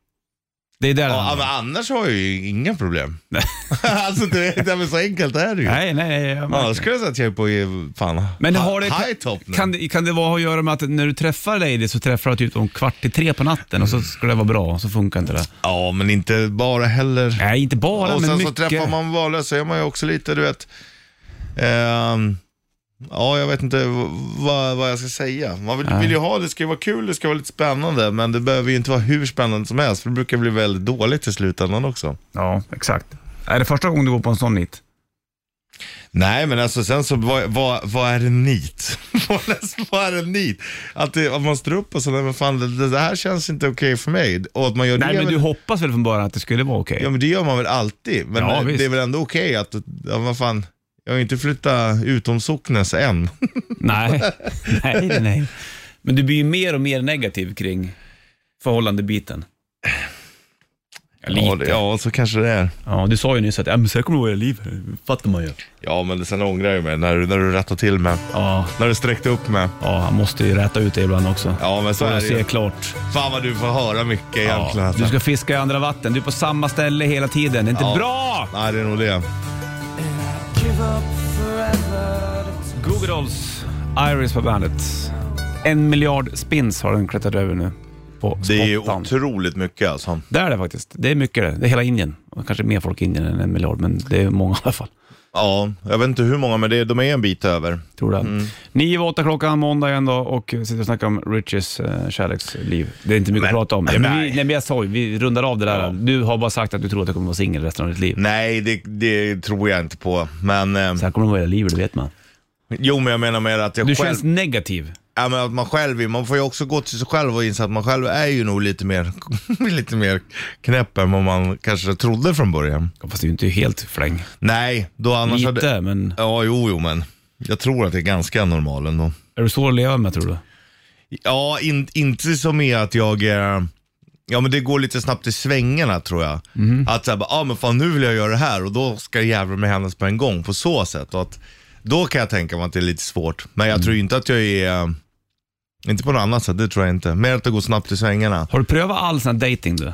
Speaker 2: Det är där det
Speaker 3: Ja,
Speaker 2: handlar
Speaker 3: men
Speaker 2: om.
Speaker 3: annars har jag ju inga problem.
Speaker 2: Nej.
Speaker 3: alltså, du vet, nej, men så enkelt är det ju.
Speaker 2: Nej, nej, nej. jag
Speaker 3: Ja,
Speaker 2: märker.
Speaker 3: jag skulle säga att jag är på eh, fan,
Speaker 2: Men
Speaker 3: ha-
Speaker 2: har det,
Speaker 3: high top nu.
Speaker 2: kan, det- kan det vara att göra med att när du träffar ladies så träffar du typ om kvart i tre på natten och så ska det vara bra och så funkar inte det.
Speaker 3: Ja, men inte bara heller.
Speaker 2: Nej, inte bara,
Speaker 3: och
Speaker 2: men
Speaker 3: sen så
Speaker 2: mycket.
Speaker 3: träffar man valösa så är man ju också lite, du vet, ehm, Ja, jag vet inte v- vad, vad jag ska säga. Man vill, vill ju ha, det ska ju vara kul, det ska vara lite spännande, men det behöver ju inte vara hur spännande som helst, för det brukar bli väldigt dåligt i slutändan också.
Speaker 2: Ja, exakt. Är det första gången du går på en sån nit?
Speaker 3: Nej, men alltså sen så, vad, vad, vad är en nit? Vad är- vad är en nit? Att, det, att man står upp och så, nej men fan, det, det här känns inte okej för mig. Och att man gör det,
Speaker 2: Nej,
Speaker 3: är
Speaker 2: men
Speaker 3: väl-
Speaker 2: du hoppas väl från början att det skulle vara okej?
Speaker 3: Ja, men det gör man väl alltid. Men
Speaker 2: Ja,
Speaker 3: eh,
Speaker 2: visst.
Speaker 3: det är väl ändå okej att, ja, vad fan, jag har inte flyttat utom socknes än.
Speaker 2: Nej. nej, nej, nej. Men du blir ju mer och mer negativ kring förhållandebiten. Ja,
Speaker 3: Ja,
Speaker 2: lite.
Speaker 3: det-
Speaker 2: Ja,
Speaker 3: ja, så kanske det är.
Speaker 2: du sa ju nyss att, ja men så här kommer det vara i liv. Fattar man ju.
Speaker 3: Ja, men sen ångrar jag mig när, du- när du rättade till mig.
Speaker 2: Ja,
Speaker 3: När du sträckte upp mig.
Speaker 2: ja, han måste ju räta ut det ibland också.
Speaker 3: Ja, men så
Speaker 2: För
Speaker 3: är
Speaker 2: att
Speaker 3: det ju.
Speaker 2: se klart.
Speaker 3: Fan vad du får höra mycket egentligen.
Speaker 2: Ja,
Speaker 3: alltså.
Speaker 2: du ska fiska i andra vatten. Du är på samma ställe hela tiden. Det är inte
Speaker 3: Ja.
Speaker 2: bra!
Speaker 3: Nej, det är nog det.
Speaker 2: Google Dolls, Iris på bandet. En miljard spins har den klättrat över nu. På
Speaker 3: Det är ju
Speaker 2: spottan.
Speaker 3: otroligt mycket alltså.
Speaker 2: Det är det faktiskt. Det är mycket det. Det är hela Indien. Och kanske mer folk i Indien än en miljard, men det är många i alla fall.
Speaker 3: Ja, jag vet inte hur många, men det, de är en bit över.
Speaker 2: Tror det.
Speaker 3: Mm.
Speaker 2: Nio och åtta klockan måndag igen då och sitter och snackar om Riches eh, kärleksliv. Det är inte mycket att prata om. Ja, men vi,
Speaker 3: nej.
Speaker 2: nej, men jag sa ju, vi rundar av det där. Du har bara sagt att du tror att du kommer vara singel resten av ditt liv.
Speaker 3: Nej, det, det tror jag inte på. Men, eh,
Speaker 2: Så här kommer det vara i hela livet, det vet man.
Speaker 3: jo, men jag menar mer att jag
Speaker 2: Du
Speaker 3: själv...
Speaker 2: känns negativ.
Speaker 3: Ja, men att man själv är, man får ju också gå till sig själv och inse att man själv är ju nog lite mer, lite mer knäpp än vad man kanske trodde från början.
Speaker 2: Ja, Fast det är ju inte helt fläng.
Speaker 3: Nej, då annars
Speaker 2: Lite,
Speaker 3: hade...
Speaker 2: men
Speaker 3: Ja, jo, jo, men jag tror att det är ganska normal ändå.
Speaker 2: är du svår att leva med tror du?
Speaker 3: Ja, in, inte som är att jag... eh, Ja, men det går lite snabbt i svängarna tror jag. Att såhär, ja ah, men fan nu vill jag göra det här och då ska jävlar med hennes på en gång på så sätt. Och att, då kan jag tänka mig att det är lite svårt. Men jag tror ju inte att jag är... eh, Inte på något annat sätt, det tror jag inte. Mer att det går snabbt i svängarna.
Speaker 2: Har du prövat all sån här dating du?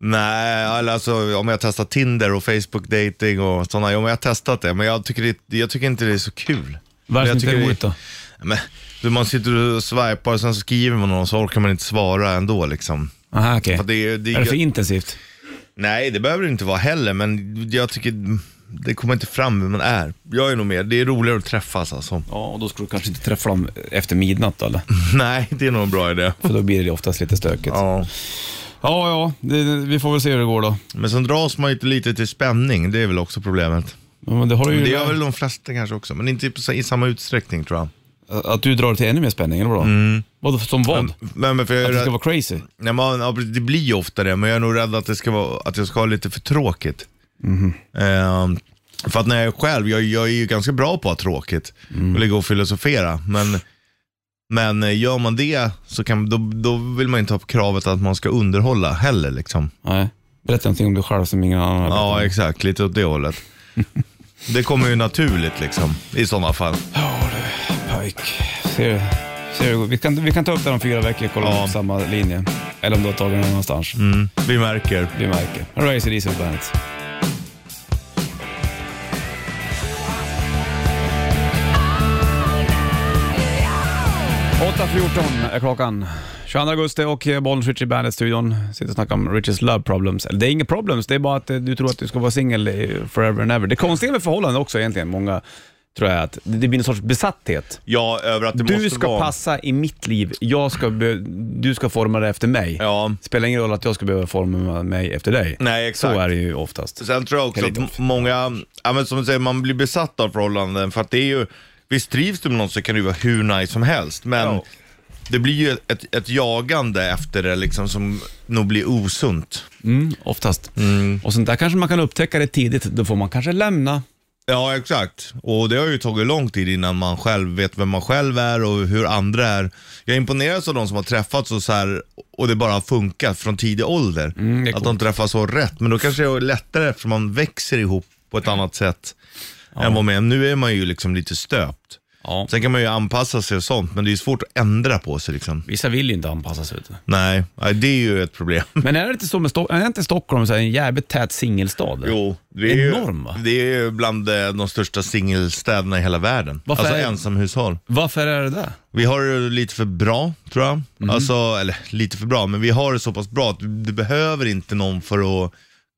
Speaker 3: Nej, eller alltså om jag testar Tinder och Facebook dating och sådana. Jo, men jag har testat det, men jag tycker, det, jag tycker inte det är så kul.
Speaker 2: Varför
Speaker 3: jag
Speaker 2: inte
Speaker 3: tycker det-
Speaker 2: roligt då?
Speaker 3: Men, du, man sitter och swipar och sen så skriver man någon så orkar man inte svara ändå liksom.
Speaker 2: Aha, okej.
Speaker 3: För att Det, är- det,
Speaker 2: Är det för
Speaker 3: jag,
Speaker 2: intensivt?
Speaker 3: nej, det behöver det inte vara heller, men jag tycker det kommer inte fram vem man är. Jag är nog mer, det är roligare att träffas alltså.
Speaker 2: Ja, och då skulle du kanske inte träffa dem efter midnatt då, eller?
Speaker 3: Nej, det är nog en bra idé.
Speaker 2: För då blir det oftast lite stökigt. Ja,
Speaker 3: Ja.
Speaker 2: ja, det, vi får väl se hur det går då.
Speaker 3: Men sen dras man ju inte lite till spänning, det är väl också problemet.
Speaker 2: Ja, Men det har du ju
Speaker 3: Det gör väl de flesta kanske också, men inte på- i samma utsträckning tror jag.
Speaker 2: Att du drar till ännu mer spänning, eller vadå? Vadå, som vad? Att
Speaker 3: Mm. Men, men för jag är
Speaker 2: det
Speaker 3: rädd,
Speaker 2: ska vara crazy?
Speaker 3: nej, men, ja, precis, det blir ju ofta det, men jag är nog rädd att, det ska vara, att jag ska ha lite för tråkigt.
Speaker 2: Mhm.
Speaker 3: Ehm, för att när jag är själv, jag, jag är ju ganska bra på att ha tråkigt
Speaker 2: Mm.
Speaker 3: och ligga och filosofera. Men, men eh, gör man det så kan, då, då vill man ju inte ha kravet att man ska underhålla heller. Liksom.
Speaker 2: Nej. Berätta någonting om dig själv som ingen annan har
Speaker 3: Ja, exakt. Lite åt det hållet. det kommer ju naturligt liksom, i sådana fall.
Speaker 2: Pike. Ser du? Ser du? Vi, kan, vi kan ta upp det om fyra veckor och kolla
Speaker 3: Ja.
Speaker 2: om samma linje. Eller om du har tagit den någon annanstans.
Speaker 3: Mm, vi märker.
Speaker 2: Vi märker. Här har ACDC på bandet. är klockan. 22 augusti och Bollnäs i Bandet-studion. Sitter och snackar om Riches love problems. Eller det är inga problems, det är bara att eh, du tror att du ska vara singel eh, forever and ever. Det konstiga med förhållanden också egentligen, många tror jag, att det det blir en sorts besatthet.
Speaker 3: Ja, över att det
Speaker 2: Du
Speaker 3: måste
Speaker 2: ska
Speaker 3: vara...
Speaker 2: passa i mitt liv, jag ska be- du ska forma det efter mig.
Speaker 3: Ja.
Speaker 2: Spelar ingen roll att jag ska behöva forma mig efter dig.
Speaker 3: Nej, exakt.
Speaker 2: Så är det ju oftast.
Speaker 3: Sen tror jag också
Speaker 2: Kalidov.
Speaker 3: att många, ja, men som du säger, man blir besatt av förhållanden för att det är ju, visst trivs du med någon så kan det ju vara hur nice som helst, men
Speaker 2: Ja.
Speaker 3: det blir ju ett, ett jagande efter det liksom som nog blir osunt.
Speaker 2: Mm, oftast. Och sånt där kanske man kan upptäcka det tidigt, då får man kanske lämna.
Speaker 3: Ja, exakt. Och det har ju tagit lång tid innan man själv vet vem man själv är och hur andra är. Jag imponeras av de som har träffats och så här, och det bara har funkat från tidig ålder.
Speaker 2: det är
Speaker 3: att de
Speaker 2: coolt.
Speaker 3: träffas så rätt. Men då kanske det är lättare eftersom man växer ihop på ett annat sätt än vad man är. Nu är man ju liksom lite stöpt.
Speaker 2: Ja.
Speaker 3: Sen kan man ju anpassa sig och sånt, men det är ju svårt att ändra på sig liksom.
Speaker 2: Vissa vill ju inte anpassa sig. vet du.
Speaker 3: Nej, nej, det är ju ett problem.
Speaker 2: Men är det inte så med Stockholm, är inte Stockholm så här en jävligt tät singelstad?
Speaker 3: Jo, det är,
Speaker 2: Enorm, va?
Speaker 3: ju, det är ju bland eh, de största singelstäderna i hela världen.
Speaker 2: Varför
Speaker 3: alltså
Speaker 2: är-
Speaker 3: ensamhushåll.
Speaker 2: Varför är det det?
Speaker 3: Vi har det lite för bra, tror jag.
Speaker 2: Mhm.
Speaker 3: Alltså, eller lite för bra, men vi har det så pass bra att du behöver inte någon för att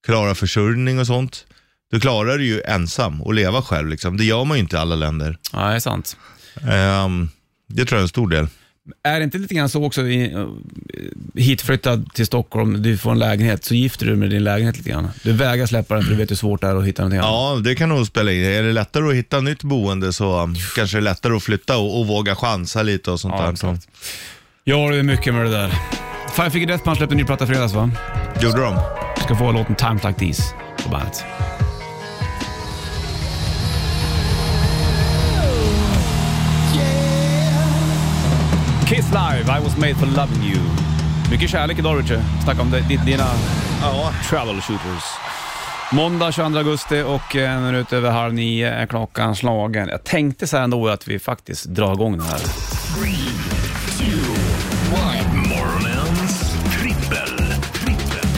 Speaker 3: klara försörjning och sånt. Då klarar du ju ensam och leva själv. Liksom. Det gör man ju inte i alla länder.
Speaker 2: Ja, det är sant.
Speaker 3: Ehm, det tror jag är en stor del.
Speaker 2: Är det inte lite grann så också, i, eh, hitflyttad till Stockholm, du får en lägenhet, så gifter du med din lägenhet lite grann. Du vägrar släppa den för du vet hur svårt det är att hitta någonting annat.
Speaker 3: Ja, det kan nog spela in. Är det lättare att hitta nytt boende så um, kanske det är lättare att flytta och, och våga chansa lite och sånt
Speaker 2: Ja,
Speaker 3: där.
Speaker 2: exakt. Ja, det är mycket med det där. Five Finger Death Punch släppte en ny platta i fredags va?
Speaker 3: Gjorde de?
Speaker 2: Ska få låten Times Like These på bandet. Kiss Live, I was made for loving you. Mycket kärlek idag Richard. Snacka om di- dina
Speaker 3: Ja.
Speaker 2: travel shooters. Måndag 22 augusti och eh, en minut över halv nio är klockan slagen. Jag tänkte så här ändå att vi faktiskt drar igång det här.
Speaker 1: Morgonens trippel. trippel.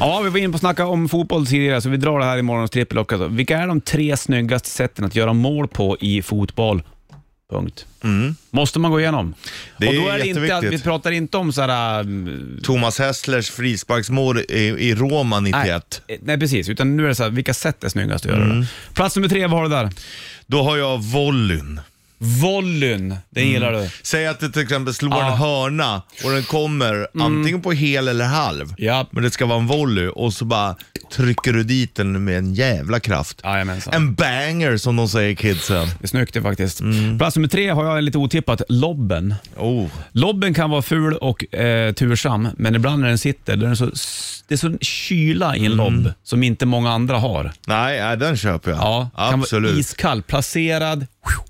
Speaker 2: Ja, vi var inne på att snacka om fotboll tidigare, så vi drar det här i morgons trippel också. Vilka är de tre snyggaste sätten att göra mål på i fotboll? Punkt. Måste man gå igenom.
Speaker 3: Mm. Det
Speaker 2: och
Speaker 3: är
Speaker 2: då är det inte att, vi
Speaker 3: jätteviktigt.
Speaker 2: pratar inte om sådär... mm,
Speaker 3: Thomas Hässlers frisparksmål i, i Roma 91.
Speaker 2: Nej, nej, precis. Utan nu är det så här, vilka sätt är snyggast att göra
Speaker 3: Mm.
Speaker 2: det? Plats nummer tre, vad har du där?
Speaker 3: Då har jag volleyn.
Speaker 2: Volleyn, den
Speaker 3: Mm.
Speaker 2: gillar du.
Speaker 3: Säg att du till exempel slår
Speaker 2: Ja. Mm.
Speaker 3: en hörna och den kommer antingen på hel eller halv.
Speaker 2: Ja.
Speaker 3: Men det ska vara en volley och så bara trycker du dit den med en jävla kraft.
Speaker 2: Jajamensan.
Speaker 3: En banger som de säger kidsen.
Speaker 2: Det är snyggt det faktiskt.
Speaker 3: Mm.
Speaker 2: Plats nummer tre har jag lite otippat, lobben.
Speaker 3: Oh.
Speaker 2: Lobben kan vara ful och eh, tursam, men ibland när den sitter, då är den så, s- det är sån kyla
Speaker 3: Mm.
Speaker 2: i en lobb som inte många andra har.
Speaker 3: Nej, nej, den köper jag.
Speaker 2: Ja, Kan
Speaker 3: Absolut.
Speaker 2: vara iskall, placerad,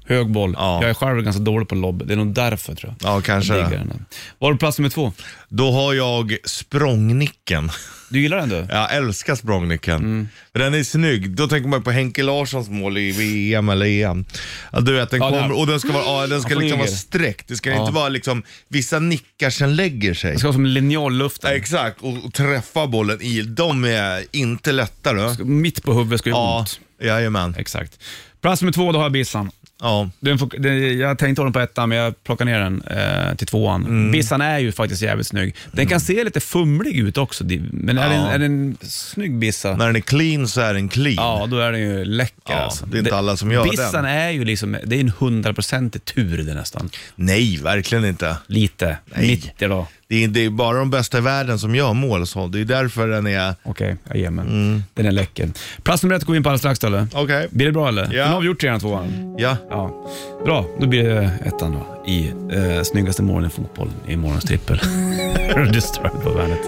Speaker 2: hög boll.
Speaker 3: Ja.
Speaker 2: Jag är själv ganska dålig på lobb. Det är nog därför tror jag.
Speaker 3: Ja, kanske
Speaker 2: Jag
Speaker 3: det.
Speaker 2: diggar den. Var du plats nummer två?
Speaker 3: Då har jag språngnicken.
Speaker 2: Du gillar den du?
Speaker 3: Jag älskar språngnicken.
Speaker 2: Mm.
Speaker 3: För Den är snygg. Då tänker man på Henke Larssons mål i VM eller EM. Ja, Du vet, den
Speaker 2: Ja,
Speaker 3: kommer
Speaker 2: den-
Speaker 3: och den ska vara, ja, den ska
Speaker 2: Han
Speaker 3: liksom vara
Speaker 2: flyger.
Speaker 3: sträckt. Det ska
Speaker 2: Ja.
Speaker 3: inte vara liksom, vissa nickar sen lägger sig.
Speaker 2: Det ska vara som
Speaker 3: Ja,
Speaker 2: linjalluften.
Speaker 3: Exakt, och, och träffa bollen i. De är inte lätta du.
Speaker 2: Mitt på huvudet ska ju
Speaker 3: Ja,
Speaker 2: ont.
Speaker 3: jajamän.
Speaker 2: Exakt. Plats nummer två, då har jag bissan.
Speaker 3: Ja.
Speaker 2: Den får, den, jag tänkte ha den på ettan, men jag plockar ner den eh, till tvåan.
Speaker 3: Mm.
Speaker 2: Bissan är ju faktiskt jävligt snygg. Den kan se lite fumlig ut också, di- men är,
Speaker 3: Ja.
Speaker 2: det en, är det en snygg bissa,
Speaker 3: När den är clean så är den clean.
Speaker 2: ja då är den ju läcker.
Speaker 3: Ja,
Speaker 2: alltså.
Speaker 3: det är inte alla som gör den.
Speaker 2: Bissan är ju liksom, det är en hundraprocentig tur det nästan.
Speaker 3: Nej, verkligen inte.
Speaker 2: Lite,
Speaker 3: Nej.
Speaker 2: 90 då.
Speaker 3: Det är, det är bara de bästa i världen som gör mål. Så det är därför den är...
Speaker 2: Okej, jag ger mig.
Speaker 3: Mm.
Speaker 2: Den är läcker. Plats nummer ett går vi in på alldeles strax då, eller?
Speaker 3: Okej.
Speaker 2: Blir det bra eller?
Speaker 3: Ja.
Speaker 2: Nu har vi gjort redan tvåan.
Speaker 3: Ja.
Speaker 2: Ja. Bra, då blir det ettan då i eh, snyggaste målen i fotboll i morgons trippel. Disturbed på bandet.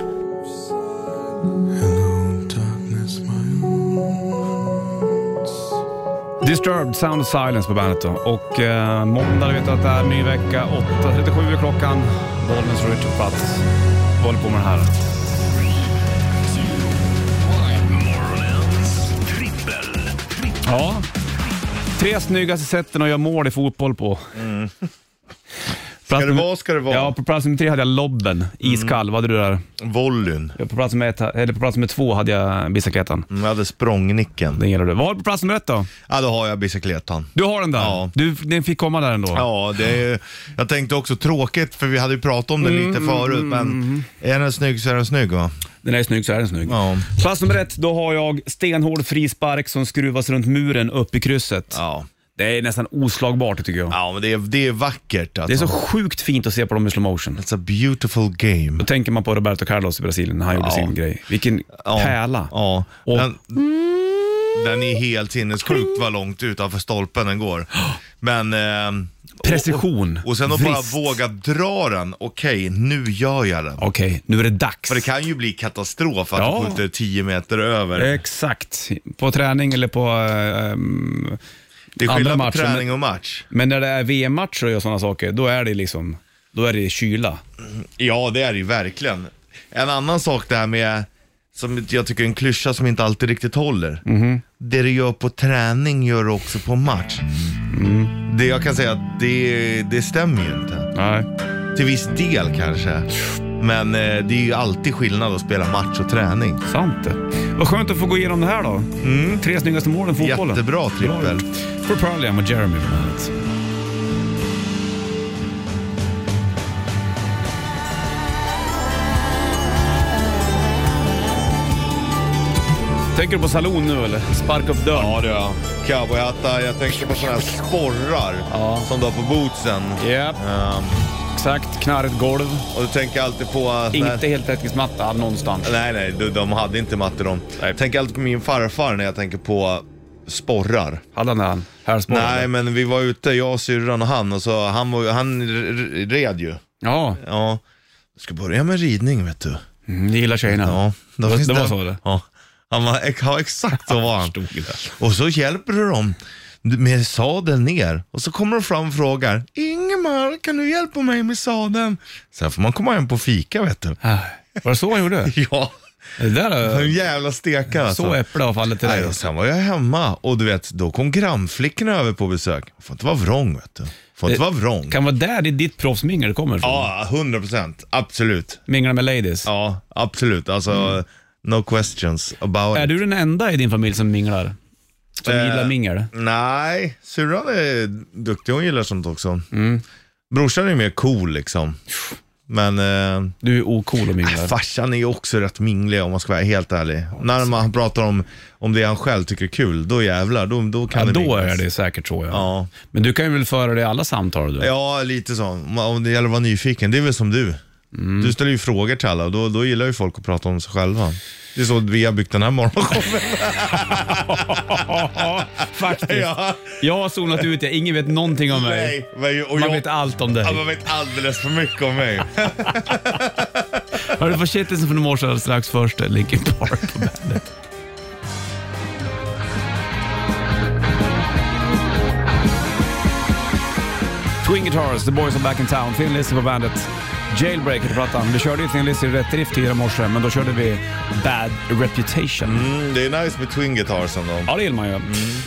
Speaker 2: Disturbed, Sound of Silence på bandet då. Och eh, måndag vet du att det är ny vecka, 8.37 är klockan. Bollnäs och Richard Plats. Vi håller på med det här.
Speaker 1: Morgonens trippel.
Speaker 2: Ja. Tre snyggaste sätten att göra mål i fotboll på.
Speaker 3: Mm. Ska det vara, ska det vara.
Speaker 2: Ja, på plats nummer tre hade jag lobben,
Speaker 3: Mm.
Speaker 2: iskall. Vad hade du där?
Speaker 3: Volleyn.
Speaker 2: På plats nummer, ett, eller på plats nummer två hade jag bicicletan.
Speaker 3: Mm, Jag hade språngnicken.
Speaker 2: Den gillar du. Vad har du på plats nummer ett då?
Speaker 3: Ja, då har jag bicicletan.
Speaker 2: Du har den där?
Speaker 3: Ja.
Speaker 2: Du, den fick komma där ändå?
Speaker 3: Ja, det är, jag tänkte också tråkigt för vi hade ju pratat om det
Speaker 2: Mm,
Speaker 3: lite förut men är den snygg så är den snygg va?
Speaker 2: Den är snygg så är den snygg.
Speaker 3: Ja.
Speaker 2: Plats nummer ett, då har jag stenhård frispark som skruvas runt muren upp i krysset.
Speaker 3: Ja,
Speaker 2: Det är nästan oslagbart tycker jag.
Speaker 3: ja men det är, det är vackert alltså.
Speaker 2: Det är så sjukt fint att se på dem i slow motion.
Speaker 3: It's a beautiful game.
Speaker 2: Då tänker man på Roberto Carlos i Brasilien när han gjorde
Speaker 3: Ja.
Speaker 2: sin grej. Vilken pärla.
Speaker 3: Ja.
Speaker 2: Och-
Speaker 3: Den, den är helt sinnessjukt vad långt utanför stolpen den går. Men... Eh,
Speaker 2: Precision.
Speaker 3: Och, och sen att bara
Speaker 2: Vrist.
Speaker 3: våga dra den. Okej, nu gör jag den.
Speaker 2: Okej, nu är det dags.
Speaker 3: För det kan ju bli katastrof att
Speaker 2: Ja.
Speaker 3: du skjuter 10 meter över.
Speaker 2: Exakt. På träning eller på... eh, ehm,
Speaker 3: Det är
Speaker 2: andra
Speaker 3: skillnad på
Speaker 2: matchen, men-
Speaker 3: träning och match.
Speaker 2: men när det är VM-matcher och sådana saker, då är det liksom... Då är det kyla.
Speaker 3: Ja, det är det ju verkligen. En annan sak det här med, som jag tycker är en klyscha som inte alltid riktigt håller. Det du gör på träning gör du också på match. Det jag kan säga att det, det stämmer ju inte.
Speaker 2: Nej.
Speaker 3: Till viss del kanske. Men eh, det är ju alltid skillnad att spela match och träning.
Speaker 2: Sant det. Vad skönt att få gå igenom det här då. Tre snyggaste målen i fotbollen.
Speaker 3: Mm. Jättebra trippel.
Speaker 2: För Perlian med Jeremy på bandet. Tänker du på saloon nu eller? Sparka upp dörren?
Speaker 3: Ja, det gör jag. Cowboyhattar. Jag tänker på sådana här sporrar
Speaker 2: Ja.
Speaker 3: som du har på bootsen.
Speaker 2: Japp.
Speaker 3: Ehm,
Speaker 2: Exakt, knarrigt golv.
Speaker 3: och du tänker jag alltid på... att-
Speaker 2: Inte helt täckningsmatta någonstans.
Speaker 3: Nej, nej, de, de hade inte matte de.
Speaker 2: Nej.
Speaker 3: Jag tänker alltid på min farfar när jag tänker på sporrar.
Speaker 2: Hade han den? Hälsporren?
Speaker 3: Nej, men vi var ute, jag, syrran och han, och så, han, var, ju- han r- r- red ju.
Speaker 2: Ja,
Speaker 3: Ja, jag ska börja med ridning vet du.
Speaker 2: mm, det gillar tjejerna.
Speaker 3: Ja, då
Speaker 2: Det-
Speaker 3: finns
Speaker 2: det var så, det?
Speaker 3: Ja, han var, ex- ja, exakt så var han.
Speaker 2: Förstod det.
Speaker 3: Och så hjälper du dem med sadeln ner och så kommer de fram och frågar Ingemar, kan du hjälpa mig med sadeln? Sen får man komma hem på fika vet du.
Speaker 2: Ah, Var det så han gjorde?
Speaker 3: Ja,
Speaker 2: Det där,
Speaker 3: en
Speaker 2: eh,
Speaker 3: jävla stekare
Speaker 2: så
Speaker 3: alltså.
Speaker 2: äpple har fallit till
Speaker 3: Nej,
Speaker 2: dig.
Speaker 3: och sen var jag hemma och du vet, då kom grannflickorna över på besök. Får inte vara vrång vet du. Får inte
Speaker 2: Det-
Speaker 3: vara vrång.
Speaker 2: Eh, Kan vara där det är ditt proffsmingel kommer ifrån.
Speaker 3: Ja, 100 procent. Absolut.
Speaker 2: Minglar med ladies.
Speaker 3: Ja, absolut. Alltså, no questions about
Speaker 2: Mm. Är
Speaker 3: it.
Speaker 2: du den enda i din familj som minglar? Som
Speaker 3: Eh,
Speaker 2: gillar mingel?
Speaker 3: Nej, syrran är duktig. Hon gillar sånt också.
Speaker 2: Mm.
Speaker 3: Brorsan är mer cool liksom. Men eh,
Speaker 2: Du är ocool och minglar.
Speaker 3: farsan är ju också rätt minglig om man ska vara helt ärlig. När man, han pratar om, om det han själv tycker är kul, då jävlar, då, då kan
Speaker 2: Ja,
Speaker 3: det
Speaker 2: då
Speaker 3: minglas.
Speaker 2: är det säkert så ja.
Speaker 3: Ja.
Speaker 2: Men du kan ju väl föra det i alla samtal du?
Speaker 3: Ja, lite så. Om- Om det gäller att vara nyfiken, det är väl som du.
Speaker 2: Mm.
Speaker 3: Du ställer ju frågor till alla och då, då gillar ju folk att prata om sig själva. Det är så vi har byggt den här morgonshowen.
Speaker 2: Faktiskt.
Speaker 3: ja.
Speaker 2: Jag har zonat ut det, ingen vet någonting om mig.
Speaker 3: Nej, men- och
Speaker 2: Man
Speaker 3: jag,
Speaker 2: vet allt om dig.
Speaker 3: Ja, man vet alldeles för mycket om mig.
Speaker 2: Har du fått shitlisten från i morse alldeles strax först? eh, Linkin Park på bandet. Twin Guitars, The Boys Are Back In Town, Thin Lizzy på bandet. Jailbreak heter plattan. Vi körde ju Thin Lizzy i rätt drift tidigare i morse, men då körde vi Bad Reputation.
Speaker 3: Mm, det är nice med twin guitarsen då.
Speaker 2: Ja, det gillar man ju.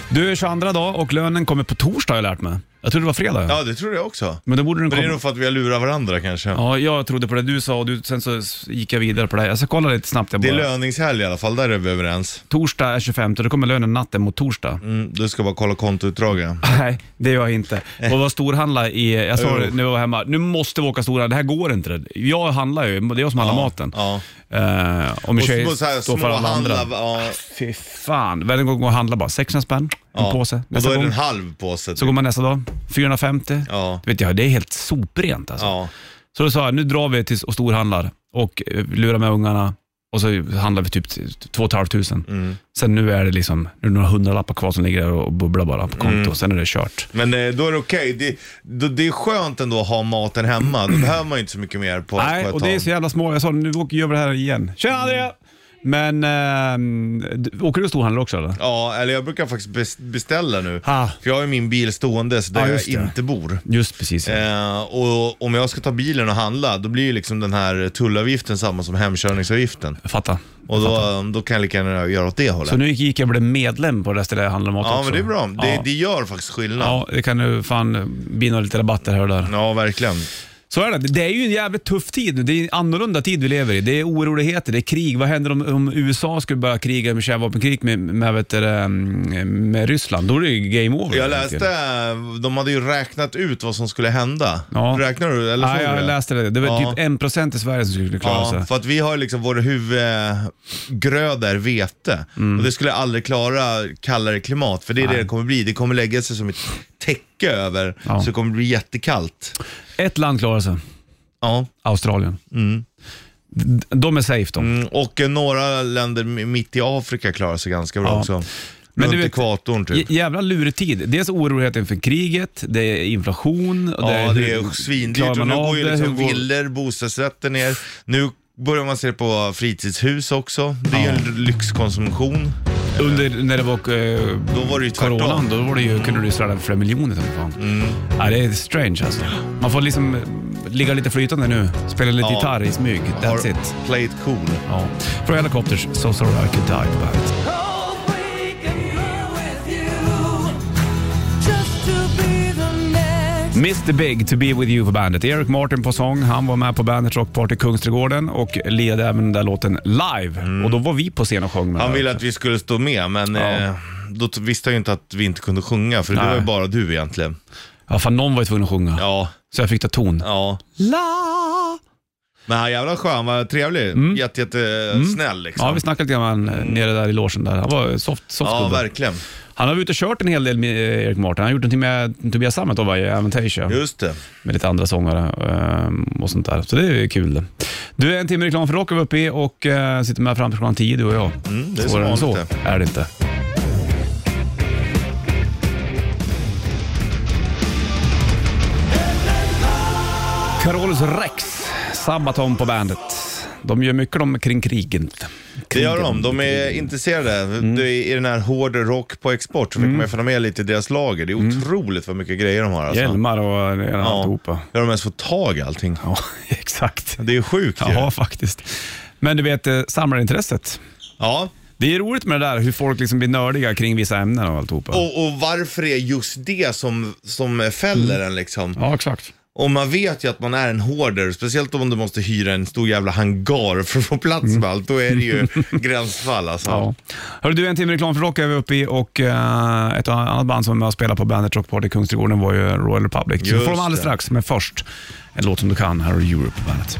Speaker 2: Du är 22 dag och lönen kommer på torsdag har jag lärt mig. Jag trodde det var fredag.
Speaker 3: Ja, det tror jag också.
Speaker 2: Men då borde den
Speaker 3: Men det är
Speaker 2: komma...
Speaker 3: nog för att vi har lurat varandra kanske.
Speaker 2: Ja, jag trodde på det du sa och du, sen så s- gick jag vidare på det här. Jag ska kolla lite snabbt. Jag
Speaker 3: Det
Speaker 2: bara.
Speaker 3: är löningshelg i alla fall, där är vi överens.
Speaker 2: Torsdag är 25, då kommer lönen natten mot torsdag.
Speaker 3: Mm, du ska bara kolla kontoutdraget.
Speaker 2: Nej, det gör jag inte. Och var storhandla i... Jag sa
Speaker 3: Jo.
Speaker 2: det när jag var hemma, nu måste vi åka storhandla, det här går inte. Jag handlar ju, det är jag som handlar maten.
Speaker 3: Ja.
Speaker 2: Eh, och min
Speaker 3: Och
Speaker 2: tjej
Speaker 3: små, så här,
Speaker 2: står för
Speaker 3: små
Speaker 2: alla andra.
Speaker 3: handlar, ja.
Speaker 2: Fy fan. Varje gång går och handlar bara 600 spänn, en
Speaker 3: ja.
Speaker 2: påse.
Speaker 3: Och då
Speaker 2: Nästa
Speaker 3: är det en
Speaker 2: gång,
Speaker 3: halv påse. typ.
Speaker 2: så går man nästa dag, 450.
Speaker 3: Ja.
Speaker 2: Vet jag, det är helt soprent alltså.
Speaker 3: Ja.
Speaker 2: Så då sa jag, nu drar vi till och storhandlar och eh, lurar med ungarna och så handlar vi typ t- två och ett halvt tusen.
Speaker 3: Mm.
Speaker 2: Sen nu är det liksom nu är det några hundralappar kvar som ligger där och bubblar bara på konto.
Speaker 3: Mm.
Speaker 2: Sen är det kört.
Speaker 3: Men eh, då är det okej. Det, då, det är skönt ändå att ha maten hemma. Då behöver man ju inte så mycket mer på, på
Speaker 2: Nej,
Speaker 3: ett
Speaker 2: och det är
Speaker 3: tag. Mm.
Speaker 2: så jävla små. Jag sa, nu åker- gör vi det här igen. Tjena Andrea! Men, ehm, d- åker du storhandlar också eller?
Speaker 3: Ja, eller jag brukar faktiskt bes- beställa nu.
Speaker 2: Ah.
Speaker 3: För jag har ju min bil stående så där
Speaker 2: Ja,
Speaker 3: jag
Speaker 2: just det.
Speaker 3: inte bor.
Speaker 2: Just precis. ja.
Speaker 3: Eh, och om jag ska ta bilen och handla, då blir ju liksom den här tullavgiften samma som hemkörningsavgiften.
Speaker 2: Jag fattar.
Speaker 3: Och då, då kan jag lika gärna göra åt det hållet.
Speaker 2: Så nu gick jag och blev medlem på det stället jag handlar mat
Speaker 3: ja,
Speaker 2: också.
Speaker 3: men det är bra. Det,
Speaker 2: ja.
Speaker 3: det gör faktiskt skillnad. Ja.
Speaker 2: ja, det kan ju fan bli några lite rabatter här och där.
Speaker 3: verkligen.
Speaker 2: Så är det. Det är ju en jävligt tuff tid nu. Det är en annorlunda tid vi lever i. Det är oroligheter, det är krig. Vad händer om, om USA skulle börja kriga med kärnvapenkrig med, med, vet du, det, mm, med Ryssland? Då är det ju game over.
Speaker 3: Jag läste, eh, de hade ju räknat ut vad som skulle hända.
Speaker 2: Ja.
Speaker 3: Räknar du? Eller såg
Speaker 2: Nej,
Speaker 3: du
Speaker 2: jag
Speaker 3: det?
Speaker 2: läste det. Det var
Speaker 3: Ja.
Speaker 2: typ 1% i Sverige som skulle klara
Speaker 3: Ja,
Speaker 2: sig.
Speaker 3: för att vi har liksom vår huvudgröda är vete.
Speaker 2: Mm.
Speaker 3: Och det skulle aldrig klara kallare klimat, för det är det det kommer bli. Det kommer lägga sig som ett täcke över,
Speaker 2: Ja.
Speaker 3: så det kommer bli jättekallt.
Speaker 2: Ett land klarar sig.
Speaker 3: Ja.
Speaker 2: Australien. D- De är safe de.
Speaker 3: Mm, och eh, några länder m- mitt i Afrika klarar sig ganska bra
Speaker 2: Ja.
Speaker 3: också.
Speaker 2: Men
Speaker 3: Runt
Speaker 2: du vet-
Speaker 3: ekvatorn typ.
Speaker 2: J- Jävla lurig tid. Dels oroligheten för kriget, det är inflation. och
Speaker 3: Ja,
Speaker 2: är
Speaker 3: det
Speaker 2: hur-
Speaker 3: är svindyrt
Speaker 2: klarar
Speaker 3: och
Speaker 2: man
Speaker 3: nu
Speaker 2: av
Speaker 3: går ju
Speaker 2: det?
Speaker 3: liksom
Speaker 2: Hur går-
Speaker 3: villor, bostadsrätter ner. Nu börjar man se på fritidshus också. Det är ju en lyxkonsumtion.
Speaker 2: Under, när det var eh,
Speaker 3: Då var det ju tvärtom.
Speaker 2: coronan, då var det ju, kunde du ju sladda för flera miljoner. som Fan.
Speaker 3: Mm.
Speaker 2: Ja, det är strange alltså. Man får liksom eh, ligga lite flytande nu, spela lite
Speaker 3: Ja.
Speaker 2: gitarr i smyg. That's
Speaker 3: Har-
Speaker 2: it.
Speaker 3: Play it cool.
Speaker 2: Ja. Från Helicopters, So Sorry I Could Die på bandet. Mr Big, To Be With You på bandet. Eric Martin på sång. Han var med på bandet Rockparty Kungsträdgården och lirade även den där låten live. Och då var vi på scen och sjöng med
Speaker 3: Mm. Han ville att vi skulle stå med, men
Speaker 2: Ja.
Speaker 3: eh, då t- visste han ju inte att vi inte kunde sjunga, för det
Speaker 2: Nej.
Speaker 3: var ju bara du egentligen.
Speaker 2: Ja, fan någon var ju tvungen att sjunga.
Speaker 3: Ja,
Speaker 2: Så jag fick ta ton.
Speaker 3: ja.
Speaker 2: La,
Speaker 3: Men han är jävla skön, vad trevlig. Jätte, jätte snäll liksom.
Speaker 2: Mm. Ja, vi snackade lite grann eh, nere där i logen där. Han var soft, soft
Speaker 3: Ja,
Speaker 2: gubbe.
Speaker 3: verkligen.
Speaker 2: Han har varit ute och kört en hel del med eh, Erik Martin. Han har gjort någonting med Tobias Sammet då, va, i Avantasia.
Speaker 3: Just det.
Speaker 2: Med lite andra sångare ehm, och sånt där. Så det är ju kul. det. Du, en timme reklam för rock är vi uppe i och eh, sitter med fram till klockan tio du och jag.
Speaker 3: Mm, det är som
Speaker 2: Svårare än så
Speaker 3: vanligt
Speaker 2: är det inte. Carolus Rex, Sabaton på bandet. De gör mycket de kring kriget.
Speaker 3: Det gör de. De är intresserade.
Speaker 2: Mm.
Speaker 3: Det är i den här hård rock på export så fick man ju följa med lite i deras lager. Det är
Speaker 2: Mm.
Speaker 3: otroligt vad mycket grejer de har alltså.
Speaker 2: Hjälmar och eh, alltihopa.
Speaker 3: Där de ens får tag i allting.
Speaker 2: Ja, exakt.
Speaker 3: Det är sjukt ju.
Speaker 2: Ja, faktiskt. Men du vet, eh, samlarintresset.
Speaker 3: Ja.
Speaker 2: Det är roligt med det där, hur folk liksom blir nördiga kring vissa ämnen och alltihopa.
Speaker 3: Och, och varför är just det som, som fäller en liksom?
Speaker 2: Ja, exakt.
Speaker 3: Och man vet ju att man är en hoarder, speciellt om du måste hyra en stor jävla hangar för att få plats med allt. Då är det ju gränsfall alltså.
Speaker 2: Mm. Ja. Hörru du, en timme reklam för rock är vi uppe i och eh, ett annat band som jag spelade på Bandet Rock Party i Kungsträdgården var ju Royal Republic. Så
Speaker 3: Just
Speaker 2: vi får dem alldeles
Speaker 3: det.
Speaker 2: strax, men först en låt som du kan. Här har du Europe på bandet.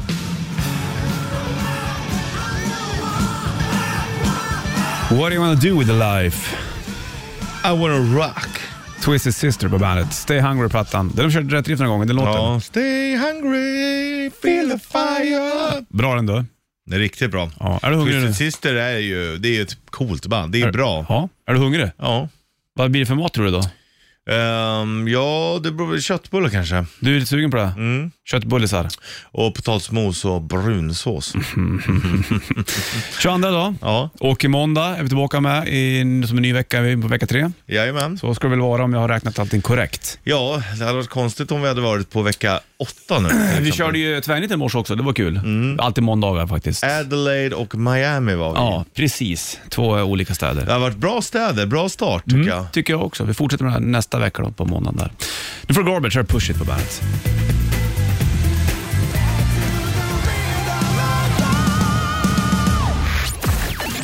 Speaker 2: What do you wanna do with your life?
Speaker 3: I wanna rock.
Speaker 2: Twisted Sister på bandet. Stay Hungry-plattan. Den har de körde rätt drift någon gång, den låten.
Speaker 3: Ja. Stay hungry, feel the fire.
Speaker 2: Bra den du.
Speaker 3: Det är riktigt bra.
Speaker 2: Ja. Är du hungrig nu?
Speaker 3: Twisted Sister är ju, det är ju ett coolt band. Det är bra.
Speaker 2: Ja. Är du hungrig?
Speaker 3: Ja.
Speaker 2: Vad blir det för mat tror du då?
Speaker 3: Ehm, ja, det beror väl köttbullar kanske.
Speaker 2: Du är lite sugen på det? Mm. Köttbullisar.
Speaker 3: Och potatismos och brunsås.
Speaker 2: Mm. 22 dag.
Speaker 3: Ja,
Speaker 2: Och i måndag är vi tillbaka med i, som en ny vecka, vi är på vecka tre.
Speaker 3: jajamän.
Speaker 2: Så ska det väl vara om jag har räknat allting korrekt.
Speaker 3: Ja, det hade varit konstigt om vi hade varit på vecka åtta nu. till
Speaker 2: Vi
Speaker 3: exempel.
Speaker 2: körde ju tvärnit i morse också, det var kul.
Speaker 3: Mm.
Speaker 2: Alltid måndagar faktiskt.
Speaker 3: Adelaide och Miami var vi.
Speaker 2: Ja, precis. Två eh, olika städer.
Speaker 3: Det har varit bra städer, bra start tycker jag.
Speaker 2: Tycker jag också. Vi fortsätter med det här nästa vecka då, på måndagen där. Nu får Garbage här, Push It på bandet.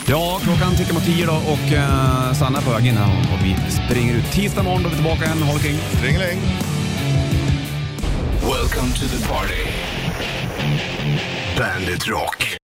Speaker 2: Ja, klockan tickar mot tio då och eh, Sanna är på väg in här och vi springer ut. Tisdag morgon då är vi tillbaka igen. Håll kring.
Speaker 3: Ringeling.
Speaker 1: Welcome to the party. Bandit Rock.